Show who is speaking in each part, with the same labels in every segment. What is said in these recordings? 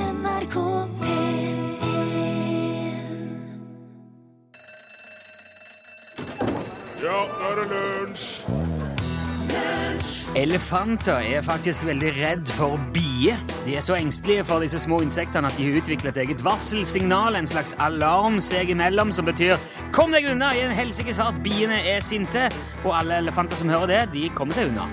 Speaker 1: NRK P1
Speaker 2: Ja, nå er det lunsj!
Speaker 3: Elefanter er faktisk veldig redd for bier. De er så engstelige for disse små insektene at de har utviklet et eget varselsignal, en slags alarm seg imellom, som betyr 'kom deg unna' i en helsikes fart. Biene er sinte, og alle elefanter som hører det, de kommer seg unna.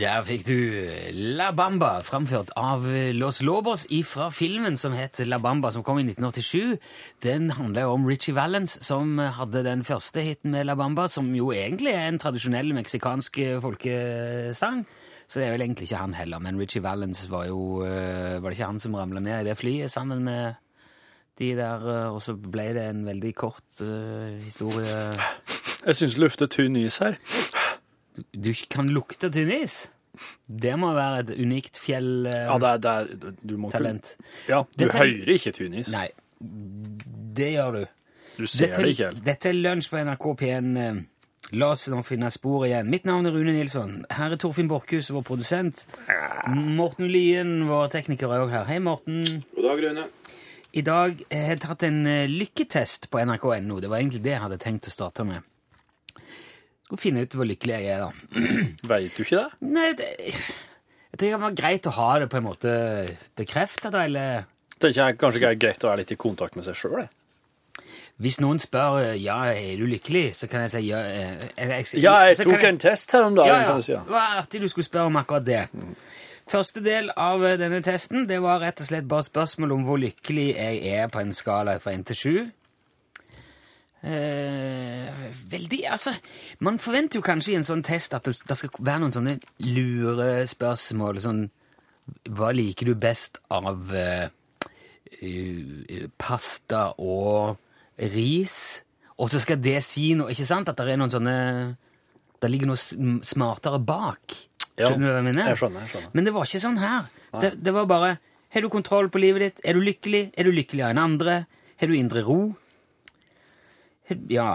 Speaker 3: Der fikk du La Bamba, framført av Los Lobos ifra filmen som het La Bamba, som kom i 1987. Den handler jo om Richie Valens, som hadde den første hiten med La Bamba, som jo egentlig er en tradisjonell meksikansk eh, folkesang. Så det er vel egentlig ikke han heller, men Richie Valens var jo eh, Var det ikke han som ramla ned i det flyet sammen med de der, eh, og så ble det en veldig kort eh, historie
Speaker 4: Jeg syns det lukter tynn is her.
Speaker 3: Du kan lukte tunnis. Det må være et unikt eh,
Speaker 4: Ja,
Speaker 3: fjelltalent.
Speaker 4: det er, det er, du må
Speaker 3: talent.
Speaker 4: Ikke, ja, du
Speaker 3: Dette-
Speaker 4: hører ikke tynn is.
Speaker 3: Nei, det gjør du.
Speaker 4: Du ser det ikke helt.
Speaker 3: dette er lunsj på NRK P1. eh, La oss nå finne spor igjen. Mitt navn er Rune Nilsson. Her er Torfinn Borchhus, vår produsent.
Speaker 4: Ah.
Speaker 3: Morten Lyen, vår tekniker, er òg her. Hei, Morten.
Speaker 5: God dag, Rune.
Speaker 3: I dag eh, har jeg tatt en eh, lykketest på nrk.no. Det var egentlig det jeg hadde tenkt å starte med. Skal finne ut hvor lykkelig jeg er, da.
Speaker 4: Veit du ikke det?
Speaker 3: Nei, det, jeg tenker det var greit å ha det på en måte bekreftet, da, eller
Speaker 4: Tenker jeg kanskje det er greit å være litt i kontakt med seg sjøl.
Speaker 3: Hvis noen spør eh, ja, er du lykkelig, så kan jeg si ja. eh, eh, jeg-
Speaker 4: Ja, jeg
Speaker 3: så kan
Speaker 4: tok en test her om dagen,
Speaker 3: ja, ja.
Speaker 4: kan du si. Ja. Mm.
Speaker 3: Det var artig du skulle spørre om akkurat det. Første del av eh, denne testen det var rett og slett bare spørsmål om hvor lykkelig jeg er på en skala fra 1 til 7. Eh, veldig, altså Man forventer jo kanskje i en sånn test at det det skal være noen sånne lure spørsmål. Sånn Hva liker du best av eh, eh, pasta og ris? Og så skal det si noe, ikke sant? At det er noen sånne det ligger noe sm- smartere bak.
Speaker 4: Ja,
Speaker 3: Skjønner du hva jeg mener?
Speaker 4: jeg skjønner, jeg skjønner.
Speaker 3: Men det var ikke sånn her. Det, det var bare Har du kontroll på livet ditt? Er du lykkelig? Er du lykkeligere enn andre? Har du indre ro? Har- Ja.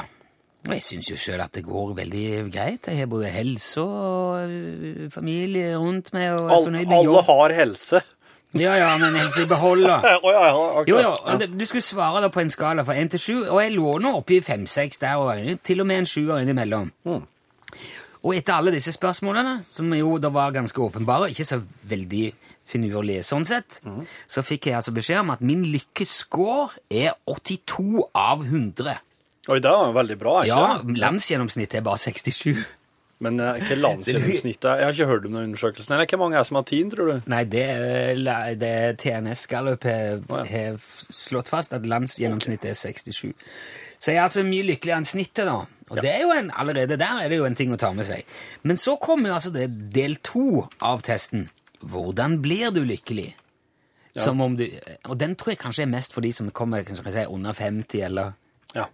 Speaker 3: Og jeg syns jo sjøl at det går veldig greit. Jeg har både helse og øh, familie rundt meg. Og er
Speaker 4: Alle-
Speaker 3: fornøyd med
Speaker 4: alle
Speaker 3: jobb.
Speaker 4: har helse.
Speaker 3: Ja, ja, men helse i behold, da.
Speaker 4: Eh, Å ja, ja, akkurat.
Speaker 3: Jo, jo,
Speaker 4: Ja.
Speaker 3: og det- Du skulle svare da på en skala fra 1 til 7, og jeg lå nå oppe i 5-6 der, og til og med en 7 innimellom.
Speaker 4: Mm.
Speaker 3: Og etter alle disse spørsmålene, som jo da var ganske åpenbare, ikke så veldig finurlige sånn sett,
Speaker 4: Mm.
Speaker 3: så fikk jeg altså beskjed om at min lykkescore er 82 av 100.
Speaker 4: Oi, det var veldig bra, ikke
Speaker 3: Ja,
Speaker 4: det?
Speaker 3: landsgjennomsnittet er bare 67.
Speaker 4: Men eh, hva landsgjennomsnittet er? Jeg har ikke hørt om den undersøkelsen. Eller hvor mange er det som har tin, tror du?
Speaker 3: Nei, det, er la- det TNS-gallup har har f- slått fast at landsgjennomsnittet er 67. Så jeg er altså mye lykkeligere enn snittet, da. Og det er jo en, allerede der er det jo en ting å ta med seg. Men så kommer jo altså det del to av testen. Hvordan blir du lykkelig? Som om du, og den tror jeg kanskje er mest for de som kommer kanskje kan jeg si, under 50, eller
Speaker 4: Ja.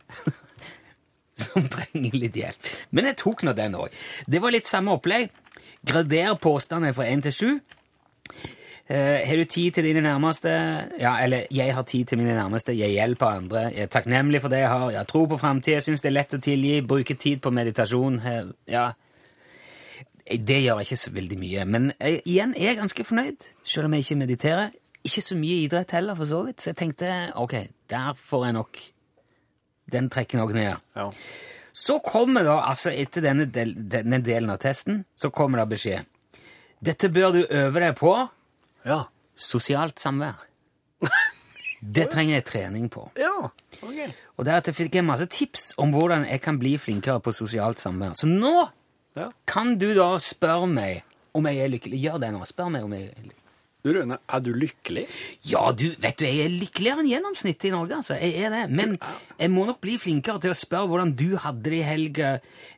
Speaker 3: som trenger litt hjelp. Men jeg tok nå den òg. Det var litt samme opplegg. Grader påstandene fra 1 til 7. Eh, har du tid til dine nærmeste? Ja, eller jeg har tid til mine nærmeste. Jeg hjelper andre. Jeg er takknemlig for det jeg har. Jeg tror på framtida. Syns det er lett å tilgi. Bruker tid på meditasjon. Her. Ja. Det gjør jeg ikke så veldig mye. Men eh, igjen jeg er ganske fornøyd, selv om jeg ikke mediterer. Ikke så mye idrett heller, for så vidt. Så jeg tenkte ok, der får jeg nok Den trekker nok ned.
Speaker 4: ja.
Speaker 3: Så kommer da, altså etter denne, del, denne delen av testen, så kommer da beskjed. Dette bør du øve deg på.
Speaker 4: Ja.
Speaker 3: Sosialt samvær. Det trenger jeg trening på.
Speaker 4: ja. Ok.
Speaker 3: Og deretter fikk jeg masse tips om hvordan jeg kan bli flinkere på sosialt samvær. Så nå
Speaker 4: Ja.
Speaker 3: kan du da spørre meg om jeg er lykkelig. Gjør det nå. Spør meg om jeg er lykkelig.
Speaker 4: Du, Rune, er du lykkelig?
Speaker 3: Ja, du, vet du, jeg er lykkeligere enn gjennomsnittet i Norge, altså. Jeg er det. Men jeg må nok bli flinkere til å spørre hvordan du hadde det i helga.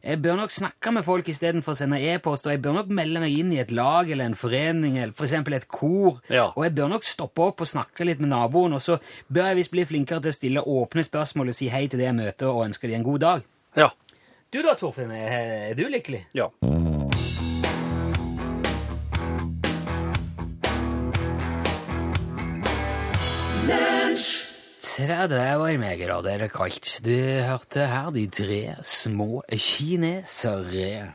Speaker 3: Jeg bør nok snakke med folk istedenfor å sende e-post, og jeg bør nok melde meg inn i et lag eller en forening, eller for eksempel et kor.
Speaker 4: Ja.
Speaker 3: Og jeg bør nok stoppe opp og snakke litt med naboen, og så bør jeg visst bli flinkere til å stille åpne spørsmål og si hei til det jeg møter, og ønske de en god dag.
Speaker 4: Ja.
Speaker 3: Du da, Torfinn, er er du lykkelig?
Speaker 4: Ja.
Speaker 3: Tredveår med grader er kaldt. Du hørte her de tre små kinesere.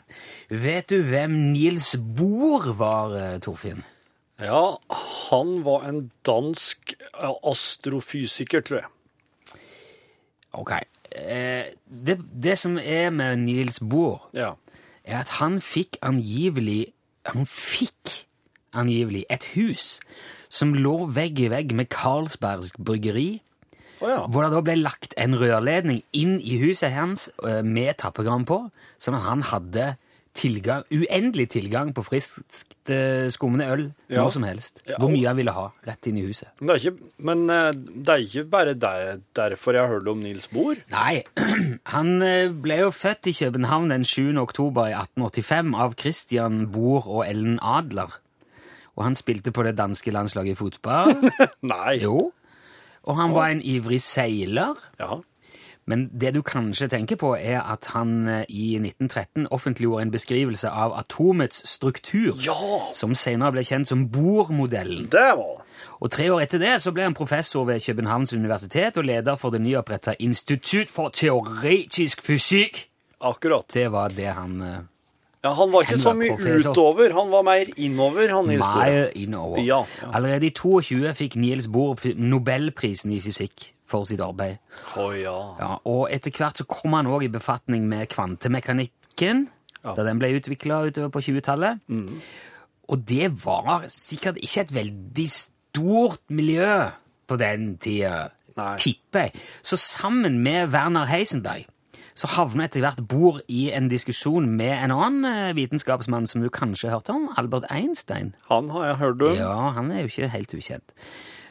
Speaker 3: Vet du hvem Niels Bohr var, eh, Torfinn?
Speaker 4: Ja, han var en dansk astrofysiker, tror jeg.
Speaker 3: Ok. Eh, det, det som er med Niels Bohr,
Speaker 4: Ja.
Speaker 3: er at han fikk angivelig Han fikk angivelig et hus som lå vegg i vegg med Carlsbergs bryggeri,
Speaker 4: Å ja.
Speaker 3: hvor det da ble lagt en rørledning inn i huset hans eh, med tappegram på, sånn at han hadde tilgang, uendelig tilgang på friskt eh, skummende øl
Speaker 4: Ja.
Speaker 3: når som helst.
Speaker 4: Ja.
Speaker 3: Hvor mye han ville ha rett inn i huset.
Speaker 4: Men det er ikke, men eh, det er ikke bare der, derfor jeg har hørt om Nils Bohr.
Speaker 3: Nei, han eh, ble jo født i København den 7. oktober i 1885 av Christian Bohr og Ellen Adler. Og han spilte på det danske landslaget i fotball.
Speaker 4: Nei.
Speaker 3: Jo. Og han var en ivrig seiler.
Speaker 4: Ja.
Speaker 3: Men det du kanskje tenker på, er at han eh, i 1913 offentliggjorde en beskrivelse av atomets struktur,
Speaker 4: Ja!
Speaker 3: som senere ble kjent som Bohr-modellen.
Speaker 4: Det var det.
Speaker 3: Og tre år etter det så ble han professor ved Københavns universitet og leder for det nyoppretta Institutt for teoretisk fysikk.
Speaker 4: Akkurat.
Speaker 3: Det var det han eh,
Speaker 4: Ja, han var ikke
Speaker 3: Han
Speaker 4: så
Speaker 3: var
Speaker 4: mye
Speaker 3: professor.
Speaker 4: utover, han var mer innover, han Nils Bohr.
Speaker 3: mer innover.
Speaker 4: Ja, ja.
Speaker 3: Allerede i 22 fikk Niels Bohr f- Nobelprisen i fysikk for sitt arbeid.
Speaker 4: Å ja.
Speaker 3: Ja, og etter hvert så kom han òg i befatning med kvantemekanikken,
Speaker 4: Ja. Mm.
Speaker 3: da den ble utvikla utover på 20-tallet. Og det var sikkert ikke et veldig stort miljø på den tida,
Speaker 4: Nei.
Speaker 3: tipper jeg. Så sammen med Werner Heisenberg så havna etter hvert Bohr i en diskusjon med en annen eh, vitenskapsmann som du kanskje hørte om, Albert Einstein.
Speaker 4: Han har jeg hørt om.
Speaker 3: Ja, han er jo ikke helt ukjent.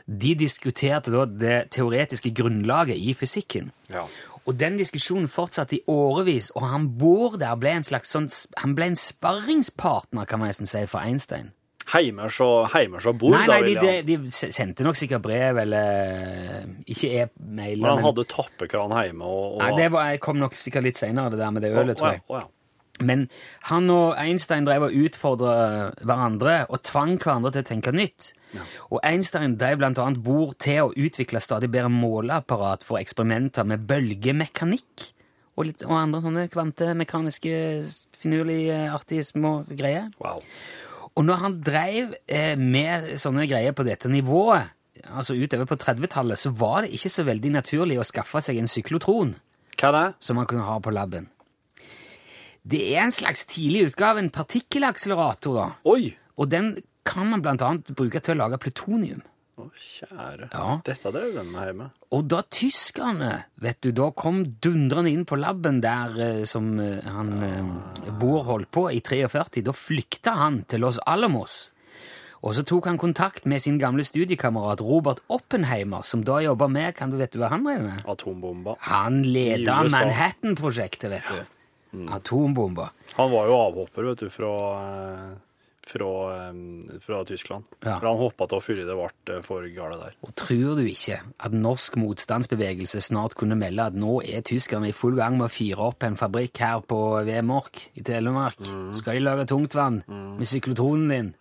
Speaker 3: De diskuterte da det teoretiske grunnlaget i fysikken.
Speaker 4: Ja.
Speaker 3: Og den diskusjonen fortsatte i årevis, og han Bård der ble en slags sånn, han ble en sparringspartner, kan man nesten si, for Einstein.
Speaker 4: Heimers og, Heimers og Bohr,
Speaker 3: nei, nei,
Speaker 4: da,
Speaker 3: de,
Speaker 4: vil
Speaker 3: de,
Speaker 4: jeg.
Speaker 3: de s- sendte nok sikkert brev, eller eh, ikke e-mail.
Speaker 4: Men han
Speaker 3: men-
Speaker 4: hadde tappekran hjemme og, og
Speaker 3: Nei, det var, jeg kom nok sikkert litt senere, det der med det ølet, tror jeg.
Speaker 4: Å, ja.
Speaker 3: Men han og Einstein drev og utfordra hverandre og tvang hverandre til å tenke nytt. Og Einstein drev blant annet Bohr til å utvikle stadig bedre måleapparat for eksperimenter med bølgemekanikk og, litt, og andre sånne kvantemekaniske finurlige, artige små greier.
Speaker 4: Wow.
Speaker 3: Og når han drev eh, med sånne greier på dette nivået, altså utover på 30-tallet, så var det ikke så veldig naturlig å skaffe seg en syklotron
Speaker 4: Hva er det?
Speaker 3: som man kunne ha på labben. Det er en slags tidlig utgave, en partikkelakselerator, da.
Speaker 4: Oi!
Speaker 3: Og den kan man blant annet bruke til å lage plutonium.
Speaker 4: Å, kjære.
Speaker 3: Ja.
Speaker 4: Dette drev den med hjemme.
Speaker 3: Og da tyskerne, vet du, da kom dundrende inn på labben der eh, som eh, han eh, Bohr holdt på i 43, da flykta han til Los Alamos. Og så tok han kontakt med sin gamle studiekamerat Robert Oppenheimer, som da jobba med Kan du vite hva han drev med?
Speaker 4: Atombomba.
Speaker 3: Han leda
Speaker 4: I USA. Mm.
Speaker 3: Manhattan-prosjektet, vet du. Atombomber.
Speaker 4: Han var jo avhopper, vet du, fra, eh, fra, eh, fra Tyskland.
Speaker 3: Ja.
Speaker 4: For han hoppa av før det ble for gale der.
Speaker 3: Og tror du ikke at norsk motstandsbevegelse snart kunne melde at nå er tyskerne i full gang med å fyre opp en fabrikk her på Vemork i Telemark? Skal de lage tungtvann med syklotronen din?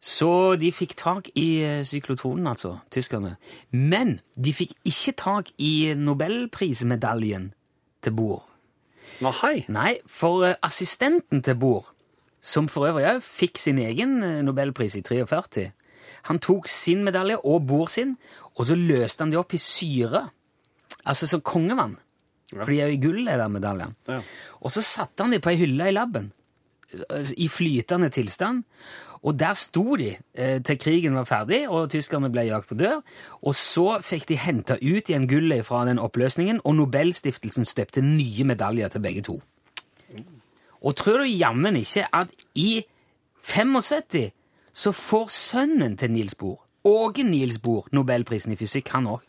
Speaker 3: Så de fikk tak i eh, syklotronen, altså, tyskerne. Men de fikk ikke tak i nobelprismedaljen til Bohr.
Speaker 4: Nå, hei!
Speaker 3: Nei, for eh, assistenten til Bohr, som for øvrig òg fikk sin egen eh, nobelpris i 43 Han tok sin medalje og Bohr sin, og så løste han de opp i syre. Altså som kongevann. For de er jo i gull, de der medaljene.
Speaker 4: Ja.
Speaker 3: Og så satte han de på ei hylle i laben, eh, i flytende tilstand. Og der sto de eh, til krigen var ferdig, og tyskerne ble jagt på dør. Og så fikk de henta ut igjen gullet fra den oppløsningen, og Nobelstiftelsen støpte nye medaljer til begge to. Og tror du jammen ikke at i 75 så får sønnen til Niels Bohr, Åge Niels Bohr, Nobelprisen i fysikk, han òg.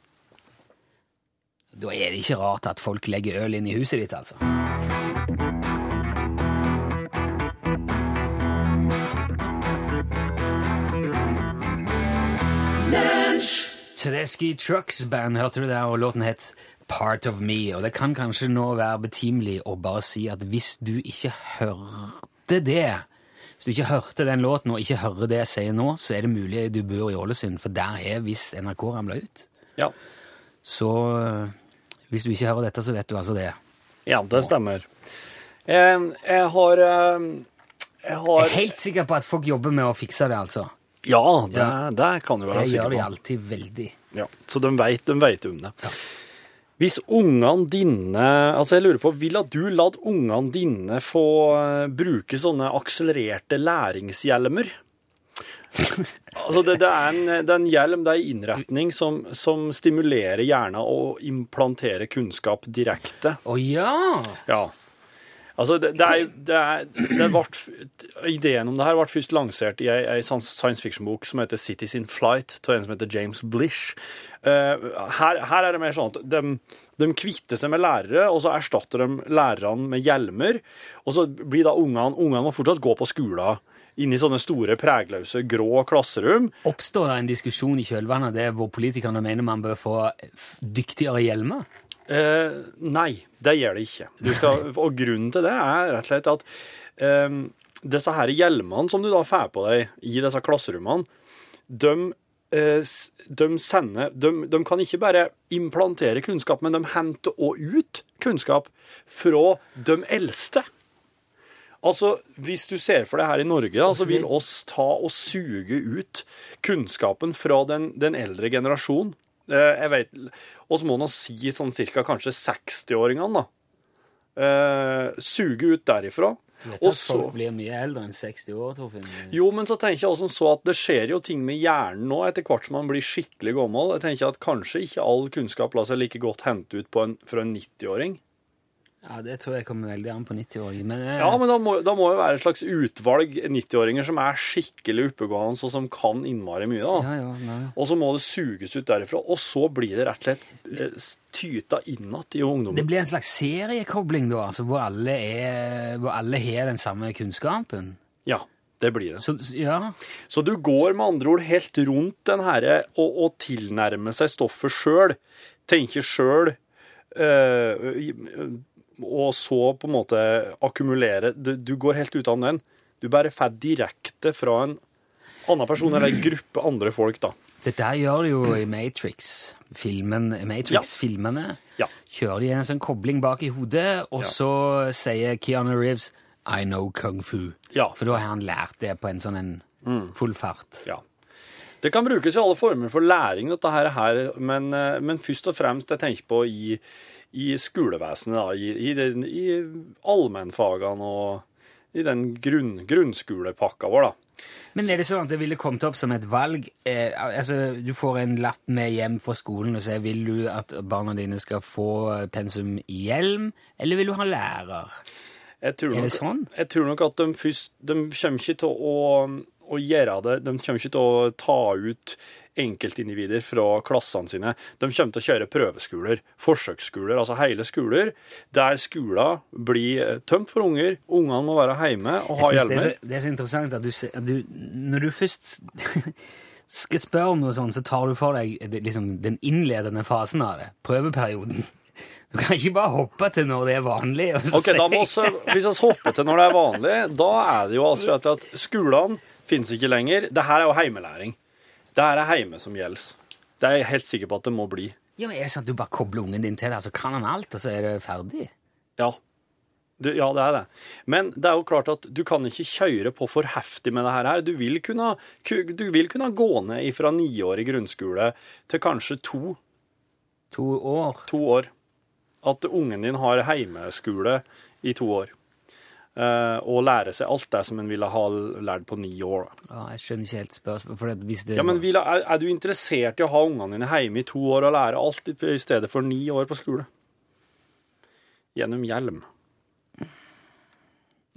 Speaker 3: Da er det ikke rart at folk legger øl inn i huset ditt, altså. Tedeschi Trucks Band hørte du der, og låten het Part of Me. Og det kan kanskje nå være betimelig å bare si at hvis du ikke hørte det Hvis du ikke hørte den låten og ikke hører det jeg sier nå, så er det mulig du bor i Ålesund, for der er visst NRK ramla ut.
Speaker 4: Ja.
Speaker 3: Så øh, hvis du ikke hører dette, så vet du altså det.
Speaker 4: ja, det stemmer. Eh, Jeg har eh,
Speaker 6: Jeg
Speaker 3: Jeg er
Speaker 6: har
Speaker 3: helt sikker på at folk jobber med å fikse det, altså.
Speaker 6: Ja, det,
Speaker 3: Ja.
Speaker 6: det kan du være
Speaker 3: Det gjør
Speaker 6: sikker
Speaker 3: de
Speaker 6: på.
Speaker 3: alltid veldig.
Speaker 6: Ja, så de vet, de vet om det. Hvis ungene dine Altså, jeg lurer på, ville du latt ungene dine få eh, bruke sånne akselererte læringshjelmer? altså, det, det, er en, det er en hjelm, det er en innretning som, som stimulerer hjernen å implantere kunnskap direkte.
Speaker 3: Å ja!
Speaker 6: Ja. Altså, det, det er jo det er, det ble, Ideen om det her ble først lansert i ei, ei science fiction-bok som heter Cities in Flight, av en som heter James Blish. Eh, her, her er det mer sånn at de, de kvitter seg med lærere, og så erstatter de lærerne med hjelmer. Og så blir da ungene Ungene må fortsatt gå på skolen inni sånne store, pregløse, grå klasserom.
Speaker 3: Oppstår det en diskusjon i kjølvannet av det hvor politikerne mener man bør få eh, f- dyktigere hjelmer?
Speaker 6: Eh, nei, det gjør det ikke. Du skal, og grunnen til det er rett og slett at eh, disse her hjelmene som du da får på deg i disse klasserommene, de, eh, s- de sender de, de kan ikke bare implantere kunnskap, men de henter også ut kunnskap fra de eldste. Altså, Hvis du ser for deg her i Norge, da, så vil oss ta og suge ut kunnskapen fra den, den eldre generasjonen. Eh, jeg vet, Og så må man si sånn cirka kanskje 60-åringene, da. Eh, suge ut derifra.
Speaker 3: Du vet
Speaker 6: Og
Speaker 3: at folk
Speaker 6: så-
Speaker 3: blir mye eldre enn 60 år, Torfinn.
Speaker 6: jo, men så tenker jeg også som så at det skjer jo ting med hjernen nå etter hvert som man blir skikkelig gammel. Jeg tenker at kanskje ikke all kunnskap lar seg like godt hente ut på en, fra en 90-åring.
Speaker 3: Ja, det tror jeg kommer veldig an på 90-åringen. Men, eh,
Speaker 6: Ja, men da må, da må jo være et slags utvalg 90-åringer som er skikkelig oppegående og som kan innmari mye. da.
Speaker 3: ja, ja, nei.
Speaker 6: Og så må det suges ut derifra, og så blir det rett og slett eh, tyta innat
Speaker 3: Det
Speaker 6: i ungdommen.
Speaker 3: blir en slags seriekobling, da, altså, hvor alle, er, hvor alle har den samme kunnskapen.
Speaker 6: Ja, det blir det.
Speaker 3: Så, så- ja.
Speaker 6: Så du går med andre ord helt rundt den herre og, og tilnærmer seg stoffet sjøl, tenker sjøl, eh, og så på en måte akkumulere Du, du går helt utenom den. Du bare får direkte fra en annen person eller en gruppe andre folk, da.
Speaker 3: Dette her gjør de jo i Matrix. Filmen, Matrix-filmene
Speaker 6: Ja.
Speaker 3: kjører de en sånn kobling bak i hodet, og
Speaker 6: Ja.
Speaker 3: så sier Keanu Reeves I know kung fu.
Speaker 6: Ja. Mm.
Speaker 3: For da har han lært det på en sånn en full fart.
Speaker 6: Ja. Det kan brukes i alle former for læring, dette her, her men, eh, men først og fremst jeg tenker på i, i skolevesenet, da, i, i, den- i allmennfagene og i den grunn, grunnskolepakka vår. da.
Speaker 3: Men er det sånn at det ville kommet opp som et valg? Eh, altså, Du får en lapp med hjem fra skolen og sier vil du at barna dine skal få pensum i hjelm, eller vil du ha lærer?
Speaker 6: Jeg tror
Speaker 3: Er
Speaker 6: nok,
Speaker 3: det sånn?
Speaker 6: Jeg tror nok at de først De kommer ikke til å, å gjøre det. De kommer ikke til å ta ut enkeltindivider fra klassene sine. De kommer til å kjøre prøveskoler, forsøksskoler, altså hele skoler, der skolen blir eh, tømt for unger. Ungene må være hjemme og ha
Speaker 3: Jeg synes det,
Speaker 6: hjelmer.
Speaker 3: er så, det er så interessant at du, se- at du Når du først s- skal spørre om noe sånt, så tar du for deg det- liksom, den innledende fasen av det. Prøveperioden. Du kan ikke bare hoppe til når det er vanlig. Og så
Speaker 6: Ok, da
Speaker 3: si-
Speaker 6: må også, Hvis vi hopper til når det er vanlig, da er det jo altså at- at skolene finnes ikke lenger. Det her er jo heimelæring. Det her er heime som gjelder. Det er jeg helt sikker på at det må bli.
Speaker 3: ja, men er det sånn at du bare kobler ungen din til det, så kan han alt, og så er det ferdig?
Speaker 6: Ja. Du, ja, det er det. Men det er jo klart at du kan ikke kjøre på for heftig med det her. Du vil kunne, ku- du vil kunne gå ned fra niårig grunnskole til kanskje to,
Speaker 3: To år.
Speaker 6: to år. At ungen din har heimeskole i to år. Eh, og lære seg alt det som en ville ha lært på ni år. da.
Speaker 3: Ja, jeg skjønner ikke helt spørsmålet. For at hvis det
Speaker 6: Ja, men vil, er, er du interessert i å ha ungene dine hjemme i to år og lære alt i, i stedet for ni år på skole? Gjennom hjelm.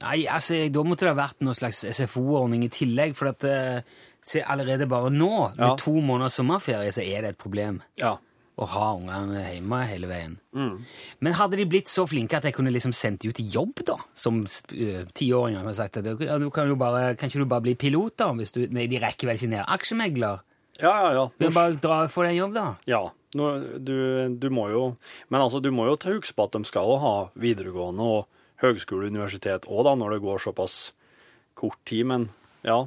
Speaker 3: Nei, altså, da måtte det ha vært noen slags SFO-ordning i tillegg, for at eh, se, allerede bare nå, med
Speaker 6: Ja.
Speaker 3: to måneders sommerferie, så er det et problem.
Speaker 6: Ja.
Speaker 3: å ha ungene hjemme hele veien.
Speaker 6: Mm.
Speaker 3: Men hadde de blitt så flinke at jeg kunne liksom sendt de ut i jobb, da? Som eh, tiåringer og sagt at ja, du kan, jo bare, kan ikke du bare bli pilot, da? Hvis du, nei, de rekker vel ikke ned. Aksjemegler?
Speaker 6: Ja, ja, ja.
Speaker 3: Du kan bare dra og få deg en jobb, da.
Speaker 6: Ja, nå, du, du må jo Men altså, du må jo ta huske på at de skal jo ha videregående og høgskole og universitet òg, da, når det går såpass kort tid, men ja.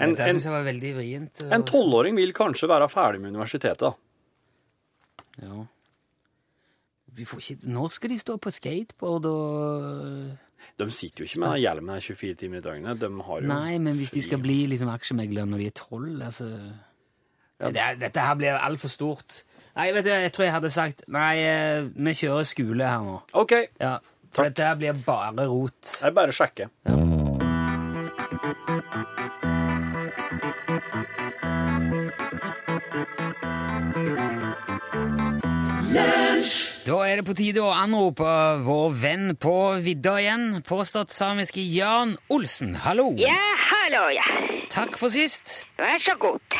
Speaker 6: En,
Speaker 3: Dette
Speaker 6: en,
Speaker 3: syns jeg var veldig vrient. eh, og-
Speaker 6: en tolvåring vil kanskje være ferdig med universitetet, da.
Speaker 3: Ja. Vi får ikke, når skal de stå på skateboard og
Speaker 4: De sitter jo ikke med den hjelmen her 24 timer i døgnet. De har jo
Speaker 3: Nei, men hvis de skal bli liksom aksjemeglere når de er tolv, altså det, er- Dette her blir altfor stort. Nei, vet du, jeg tror jeg hadde sagt Nei, eh, vi kjører skole her nå.
Speaker 4: OK,
Speaker 3: Ja, For
Speaker 4: Takk.
Speaker 3: dette her blir bare rot.
Speaker 4: jeg bare sjekker.
Speaker 3: Da er det på tide å anrope vår venn på vidda igjen, påstått samiske Jan Olsen. Hallo!
Speaker 1: Ja, hallo, ja.
Speaker 3: Takk for sist.
Speaker 1: Vær så god.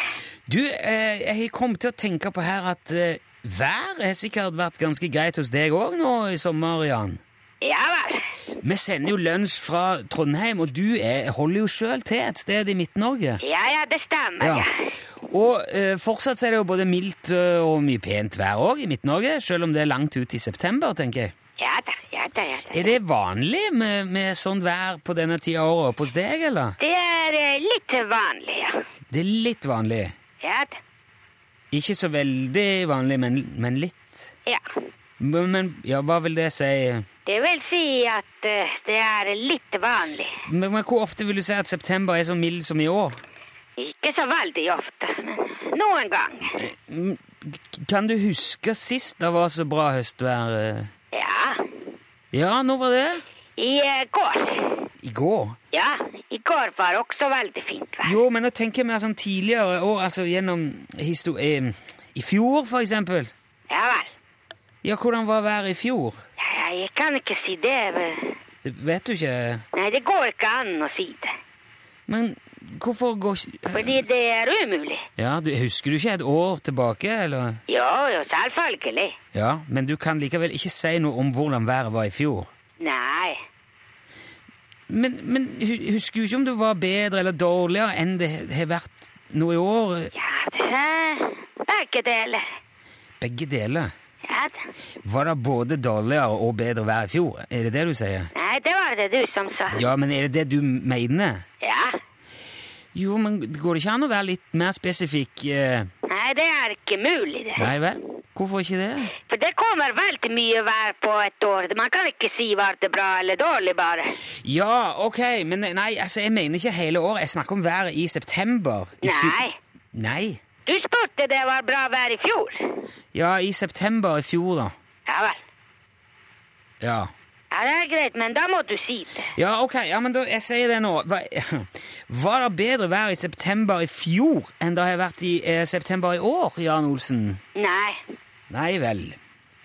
Speaker 3: Du, eh, jeg kom til å tenke på her at eh, vær har sikkert vært ganske greit hos deg òg nå i sommer, Jan.
Speaker 1: Ja vel.
Speaker 3: Vi sender jo lunsj fra Trondheim, og du er, holder jo sjøl til et sted i Midt-Norge.
Speaker 1: Ja, ja, det stemmer, ja.
Speaker 3: Og eh, fortsatt så er det jo både mildt eh, og mye pent vær òg i Midt-Norge, sjøl om det er langt ut i september, tenker jeg.
Speaker 1: Ja da, ja da, ja da.
Speaker 3: Er det vanlig med, med sånn vær på denne tida av året oppe hos deg, eller?
Speaker 1: Det er eh, litt vanlig, ja.
Speaker 3: Det er litt vanlig.
Speaker 1: Ja da,
Speaker 3: Ikke så veldig vanlig, men, men litt.
Speaker 1: ja.
Speaker 3: Men, men ja, hva vil det si?
Speaker 1: Det vil si at eh, det er litt vanlig.
Speaker 3: Men, men Hvor ofte vil du si at september er så mild som i år?
Speaker 1: Ikke så veldig ofte, men noen ganger.
Speaker 3: K- Kan du huske sist det var så bra høstvær? eh?
Speaker 1: Ja,
Speaker 3: Ja, når var det?
Speaker 1: i eh, går.
Speaker 3: I går.
Speaker 1: Ja, i går var også veldig fint vær.
Speaker 3: Jo, men nå tenker jeg mer sånn tidligere år, altså gjennom histo- eh, I fjor, for eksempel.
Speaker 1: Ja vel.
Speaker 3: Ja, hvordan var været i fjor?
Speaker 1: Ja, ja, jeg kan ikke si det. men-
Speaker 3: Det vet du ikke.
Speaker 1: Nei, det går ikke an å si det.
Speaker 3: Men hvorfor går ikke
Speaker 1: Fordi det er umulig.
Speaker 3: Ja, du, Husker du ikke et år tilbake, eller?
Speaker 1: Jo, jo, selvfølgelig.
Speaker 3: Ja, men du kan likevel ikke si noe om hvordan været var i fjor.
Speaker 1: Nei.
Speaker 3: Men, men hu- husker du ikke om det var bedre eller dårligere enn det har vært nå i år?
Speaker 1: Ja, det er begge deler.
Speaker 3: Begge deler.
Speaker 1: Ja, da.
Speaker 3: Var det både dårligere og bedre vær i fjor? Er det det du sier?
Speaker 1: Nei, det var det du som sa.
Speaker 3: Ja, men er det det du mener?
Speaker 1: Ja.
Speaker 3: Jo, men går det ikke an å være litt mer spesifikk? eh?
Speaker 1: Nei, det er ikke mulig, det.
Speaker 3: Nei vel? Hvorfor ikke det?
Speaker 1: For det kommer veldig mye vær på et år. Man kan ikke si var det bra eller dårlig, bare.
Speaker 3: Ja, ok, men nei, altså, jeg mener ikke hele året. Jeg snakker om været i september. I fjo-
Speaker 1: Nei.
Speaker 3: Nei.
Speaker 1: Du spurte det var bra vær i fjor.
Speaker 3: Ja, i september i fjor, da.
Speaker 1: Ja vel.
Speaker 3: Ja.
Speaker 1: Ja, det er greit, men da må du si det.
Speaker 3: Ja, ok, ja, men da, jeg sier det nå. Hva, var det bedre vær i september i fjor enn det har vært i eh, september i år, Jan Olsen?
Speaker 1: Nei.
Speaker 3: Nei vel.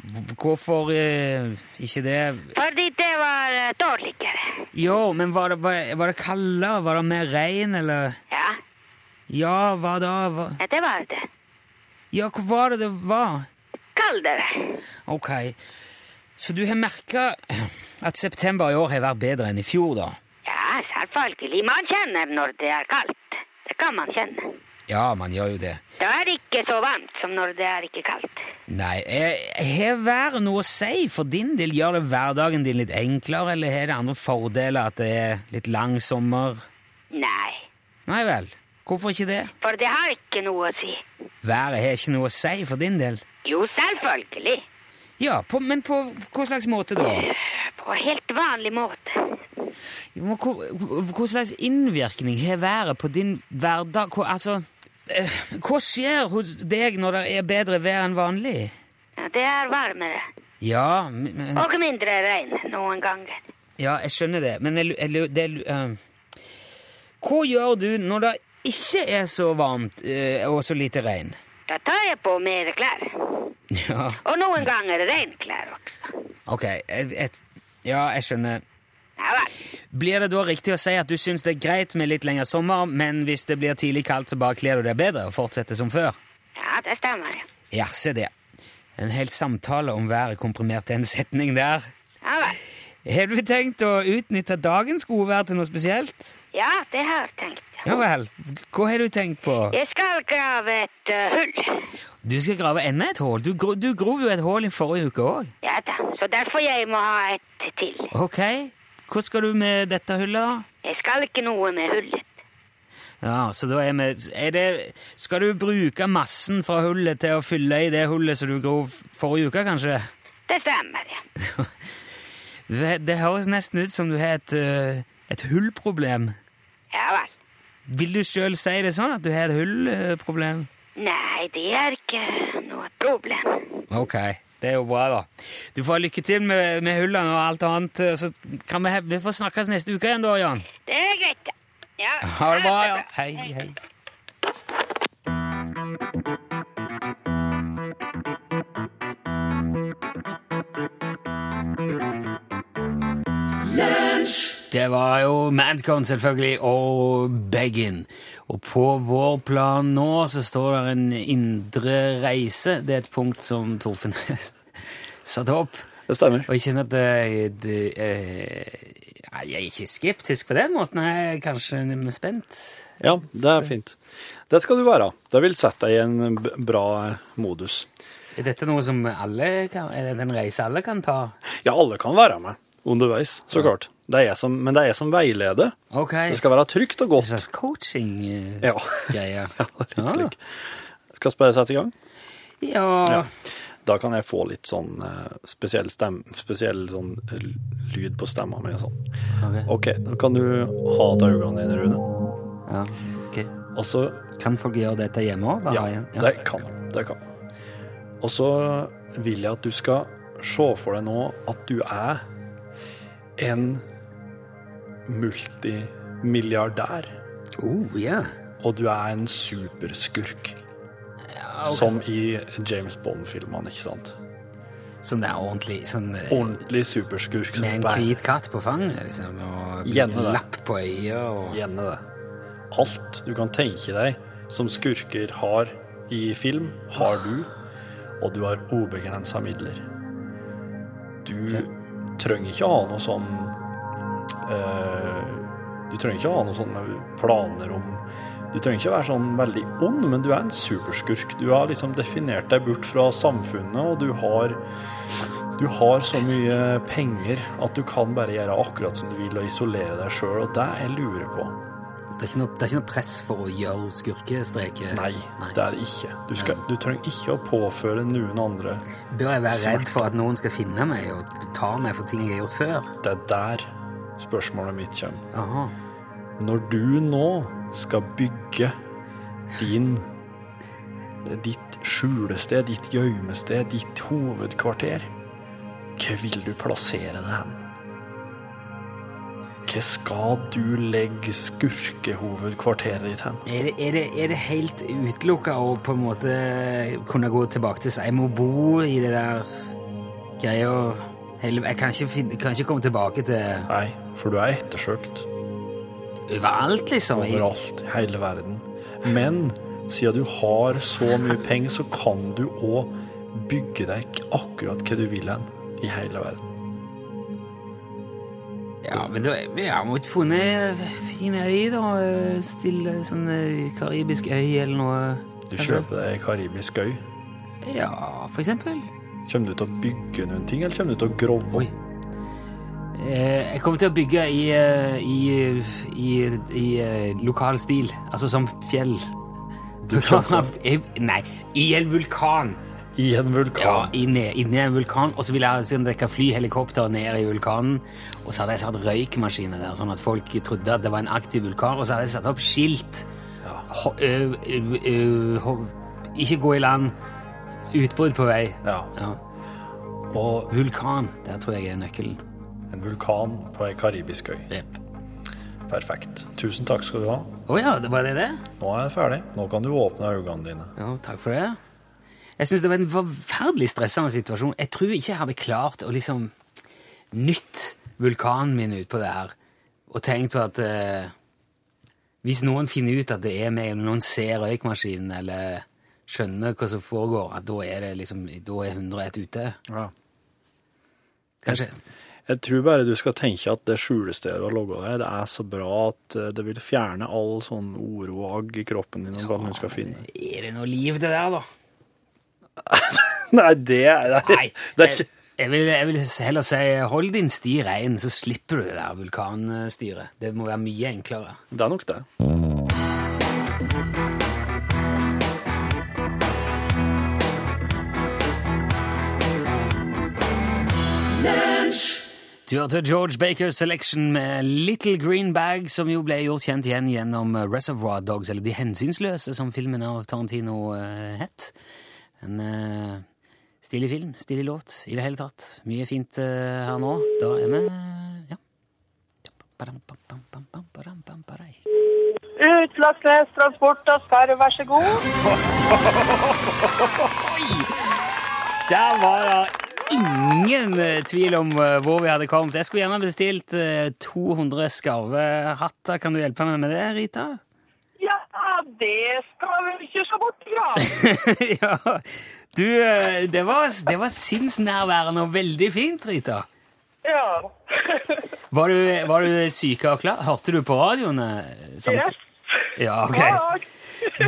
Speaker 3: H- Hvorfor eh, ikke det?
Speaker 1: Fordi det var eh, dårligere.
Speaker 3: Jo, men var det, var, var det kaldere? Var det mer regn, eller?
Speaker 1: Ja.
Speaker 3: Ja, hva da? Hva?
Speaker 1: ja, det var det.
Speaker 3: Ja, hvor var det det var?
Speaker 1: Kaldere.
Speaker 3: Ok, så du har merket at september i år har vært bedre enn i fjor, da?
Speaker 1: Ja, selvfølgelig. Man kjenner når det er kaldt. Det kan man kjenne.
Speaker 3: Ja, man gjør jo det.
Speaker 1: Det er ikke så varmt som når det er ikke kaldt.
Speaker 3: Nei, eh, har været noe å si for din del? Gjør det hverdagen din litt enklere, eller har det andre fordeler at det er litt lang sommer?
Speaker 1: Nei,
Speaker 3: Nei vel, hvorfor ikke det?
Speaker 1: for det har ikke noe å si.
Speaker 3: Været har ikke noe å si for din del.
Speaker 1: Jo, selvfølgelig.
Speaker 3: Ja, på, men på hva slags måte da?
Speaker 1: På helt vanlig måte.
Speaker 3: Jo, men Hva, hva slags innvirkning har været på din hverdag? Hva, altså, eh, hva skjer hos deg når det er bedre vær enn vanlig?
Speaker 1: Ja, Det er varmere.
Speaker 3: Ja, men, men-
Speaker 1: Og mindre regn noen ganger.
Speaker 3: Ja, jeg skjønner det, men jeg, lu- jeg, lu- det, lu- eh, Hva gjør du når det ikke er så varmt eh, og så lite regn?
Speaker 1: Da tar jeg på mer klær.
Speaker 3: Ja,
Speaker 1: Og noen ganger regnklær også.
Speaker 3: ok. Jeg, jeg, ja, jeg skjønner.
Speaker 1: Ja vel.
Speaker 3: Blir det da riktig å si at du syns det er greit med litt lengre sommer, men hvis det blir tidlig kaldt, så bare kler du deg bedre og fortsetter som før?
Speaker 1: Ja, det stemmer. ja.
Speaker 3: Ja, se det. En hel samtale om været komprimert til en setning der.
Speaker 1: Ja vel.
Speaker 3: Har du tenkt å utnytte dagens gode vær til noe spesielt?
Speaker 1: Ja, det har jeg tenkt.
Speaker 3: Ja vel. Hva har du tenkt på?
Speaker 1: Jeg skal grave et eh, hull.
Speaker 3: Du skal grave enda et hull. Du, gro- du grov jo et hull i forrige uke òg.
Speaker 1: Ja da, så derfor jeg må ha et til.
Speaker 3: Ok. Hva skal du med dette hullet, da?
Speaker 1: Jeg skal ikke noe med hullet.
Speaker 3: Ja, så da er vi er det, Skal du bruke massen fra hullet til å fylle i det hullet som du grov forrige uke, kanskje?
Speaker 1: Det stemmer, ja.
Speaker 3: Det, det høres nesten ut som du har et, eh, et hullproblem.
Speaker 1: Ja vel.
Speaker 3: Vil du sjøl si det sånn at du har et hullproblem?
Speaker 1: Nei, det er ikke noe problem.
Speaker 3: Ok, det er jo bra, da. Du får ha lykke til med, med hullene og alt annet. eh, Så kan vi, he- vi får snakkes neste uke igjen, da, Jan.
Speaker 1: Det er greit, da. Ja,
Speaker 3: Ha det bra, ja. Hei, hei. Det var jo Madcon, selvfølgelig, og Beggin. Og på vår plan nå så står det en indre reise. Det er et punkt som Torfinn satte opp.
Speaker 6: Det stemmer.
Speaker 3: Og jeg kjenner at eh, det, eh, nei, Jeg er ikke skeptisk på den måten. Jeg er kanskje spent.
Speaker 6: Ja, det er fint. Det skal du være. Det vil sette deg i en b- bra eh, modus.
Speaker 3: Er dette noe som alle kan, er det en reise alle kan ta?
Speaker 6: Ja, alle kan være med underveis, så klart. Det er jeg som, men det er jeg som veileder.
Speaker 3: Ok.
Speaker 6: Det skal være trygt
Speaker 3: En
Speaker 6: og godt.
Speaker 3: slags eh,
Speaker 6: Ja.
Speaker 3: coaching-greie.
Speaker 6: Ja, litt slik. Skal vi bare sette i gang?
Speaker 3: ja.
Speaker 6: Ja. Da kan jeg få litt sånn eh, spesiell, stem, spesiell sånn l- lyd på stemma mi og sånn.
Speaker 3: Ok.
Speaker 6: OK, da kan du ha til øynene dine, Rune.
Speaker 3: ja. ok.
Speaker 6: Og så
Speaker 3: Kan folk gjøre dette hjemme òg?
Speaker 6: Ah, Ja, det kan jeg. Det kan jeg. Og så vil jeg at du skal se for deg nå at du er en multimilliardær.
Speaker 3: Oh, ja.
Speaker 6: Og du er en superskurk.
Speaker 3: Ja, ok.
Speaker 6: Som i James Bond-filmene, ikke sant?
Speaker 3: Sånn det er ordentlig sånn, eh,
Speaker 6: Ordentlig superskurk. som
Speaker 3: Med en
Speaker 6: bare-
Speaker 3: hvit katt på fanget, liksom, og
Speaker 6: Gjerne det.
Speaker 3: lapp på øyet og
Speaker 6: Gjerne det. Alt du kan tenke deg som skurker har i film, har du. Og du har ubegrensa midler. Du trenger ikke å ha noe sånn eh, Du trenger ikke å ha noen sånne planer om Du trenger ikke å være sånn veldig ond, men du er en superskurk. Du har liksom definert deg bort fra samfunnet, og du har du har så mye penger at du kan bare gjøre akkurat som du vil og isolere deg sjøl, og det jeg lurer på.
Speaker 3: Så det er, ikke noe, det er ikke noe press for å gjøre skurkestreker?
Speaker 6: Nei, det er det ikke. Du, skal, du trenger ikke å påføre noen andre
Speaker 3: Bør jeg være redd for at noen skal finne meg og ta meg for ting jeg har gjort før?
Speaker 6: Det er der spørsmålet mitt kommer.
Speaker 3: Aha.
Speaker 6: Når du nå skal bygge din ditt skjulested, ditt gjørmested, ditt hovedkvarter, hva vil du plassere det hen? Hva skal du legge skurkehovedkvarteret ditt hen?
Speaker 3: Er det, er, det, er det helt utelukka å på en måte kunne gå tilbake til Jeg må bo i det der greia hele- Jeg kan ikke, finne, kan ikke komme tilbake til
Speaker 6: Nei, for du er ettersøkt
Speaker 3: overalt, liksom. Jeg-
Speaker 6: overalt i hele verden. Men siden du har så mye penger, så kan du òg bygge deg akkurat hva du vil hen i hele verden.
Speaker 3: Ja, men da vi har måttet funnet fin øy, da. Stille sånn eh, karibisk øy eller noe.
Speaker 6: Du kjøper deg ei karibisk øy.
Speaker 3: Ja, for eksempel.
Speaker 6: Kommer du til å bygge noen ting, eller kommer du til å grove?
Speaker 3: Oi. Eh, jeg kommer til å bygge i, eh, i, i, i eh, lokal stil, altså som fjell.
Speaker 6: Du kjøper
Speaker 3: I- Nei, i en vulkan.
Speaker 6: i en
Speaker 3: Ja,
Speaker 6: vulkan.
Speaker 3: inne, inne i en vulkan. Og så vil jeg sånn, at jeg kan fly helikopter ned i vulkanen. Og så hadde jeg satt røykmaskiner der, sånn at folk trodde at det var en aktiv vulkan. Og så hadde jeg satt opp skilt. Ho, ø, ø, ø, ho, ikke gå i land. Utbrudd på vei.
Speaker 6: Ja.
Speaker 3: Ja.
Speaker 6: Og
Speaker 3: Vulkan. Der tror jeg er nøkkelen.
Speaker 6: en vulkan på ei karibisk øy.
Speaker 3: Jep.
Speaker 6: Perfekt. Tusen takk skal du ha.
Speaker 3: Å ja, det var det det?
Speaker 6: Nå er jeg ferdig. Nå kan du åpne øynene dine.
Speaker 3: Ja, takk for det. Jeg syns det var en forferdelig stressende situasjon. Jeg tror ikke jeg hadde klart å liksom nytt vulkanen min utpå det her og tenkt på at eh, hvis noen finner ut at det er meg, eller noen ser røykmaskinen eller skjønner hva som foregår, at da er det liksom, da er 101 ute. Kanskje.
Speaker 6: Jeg tror bare du skal tenke at det skjulestedet du har logga deg, det er så bra at eh, det vil fjerne all sånn uro og agg i kroppen din. hva du skal finne.
Speaker 3: Er det noe liv, det der, da?
Speaker 6: Nei, det er, det er,
Speaker 3: Nei.
Speaker 6: det er
Speaker 3: Jeg,
Speaker 6: ikke
Speaker 3: jeg, vil, jeg vil heller si hold din sti rein, så slipper du det der vulkanstyret. Det må være mye enklere.
Speaker 6: Det er nok det.
Speaker 3: Du hørte George Bakers Selection med Little Green Bag, som jo ble gjort kjent igjen gjennom Reservoir Dogs, eller De hensynsløse, som filmen av Tarantino eh, het. En eh, stilig film, stilig låt i det hele tatt. Mye fint eh, her nå. Da er vi ja.
Speaker 5: Utslagsnestransport og skarv, vær så god.
Speaker 3: Der var det ingen eh, tvil om eh, hvor vi hadde kommet. Jeg skulle gjerne bestilt eh, 200 skarvehatter. Kan du hjelpe meg med det, Rita?
Speaker 5: Ja, det skal vi ikke se bort fra.
Speaker 3: ja. Du, eh, det var, det var sinnsnærværende og veldig fint, Rita.
Speaker 5: Ja.
Speaker 3: Var du, var du syk og klar? Hørte du på radioen? eh, samt-
Speaker 5: Yes.
Speaker 3: Ja, ok.
Speaker 5: Takk.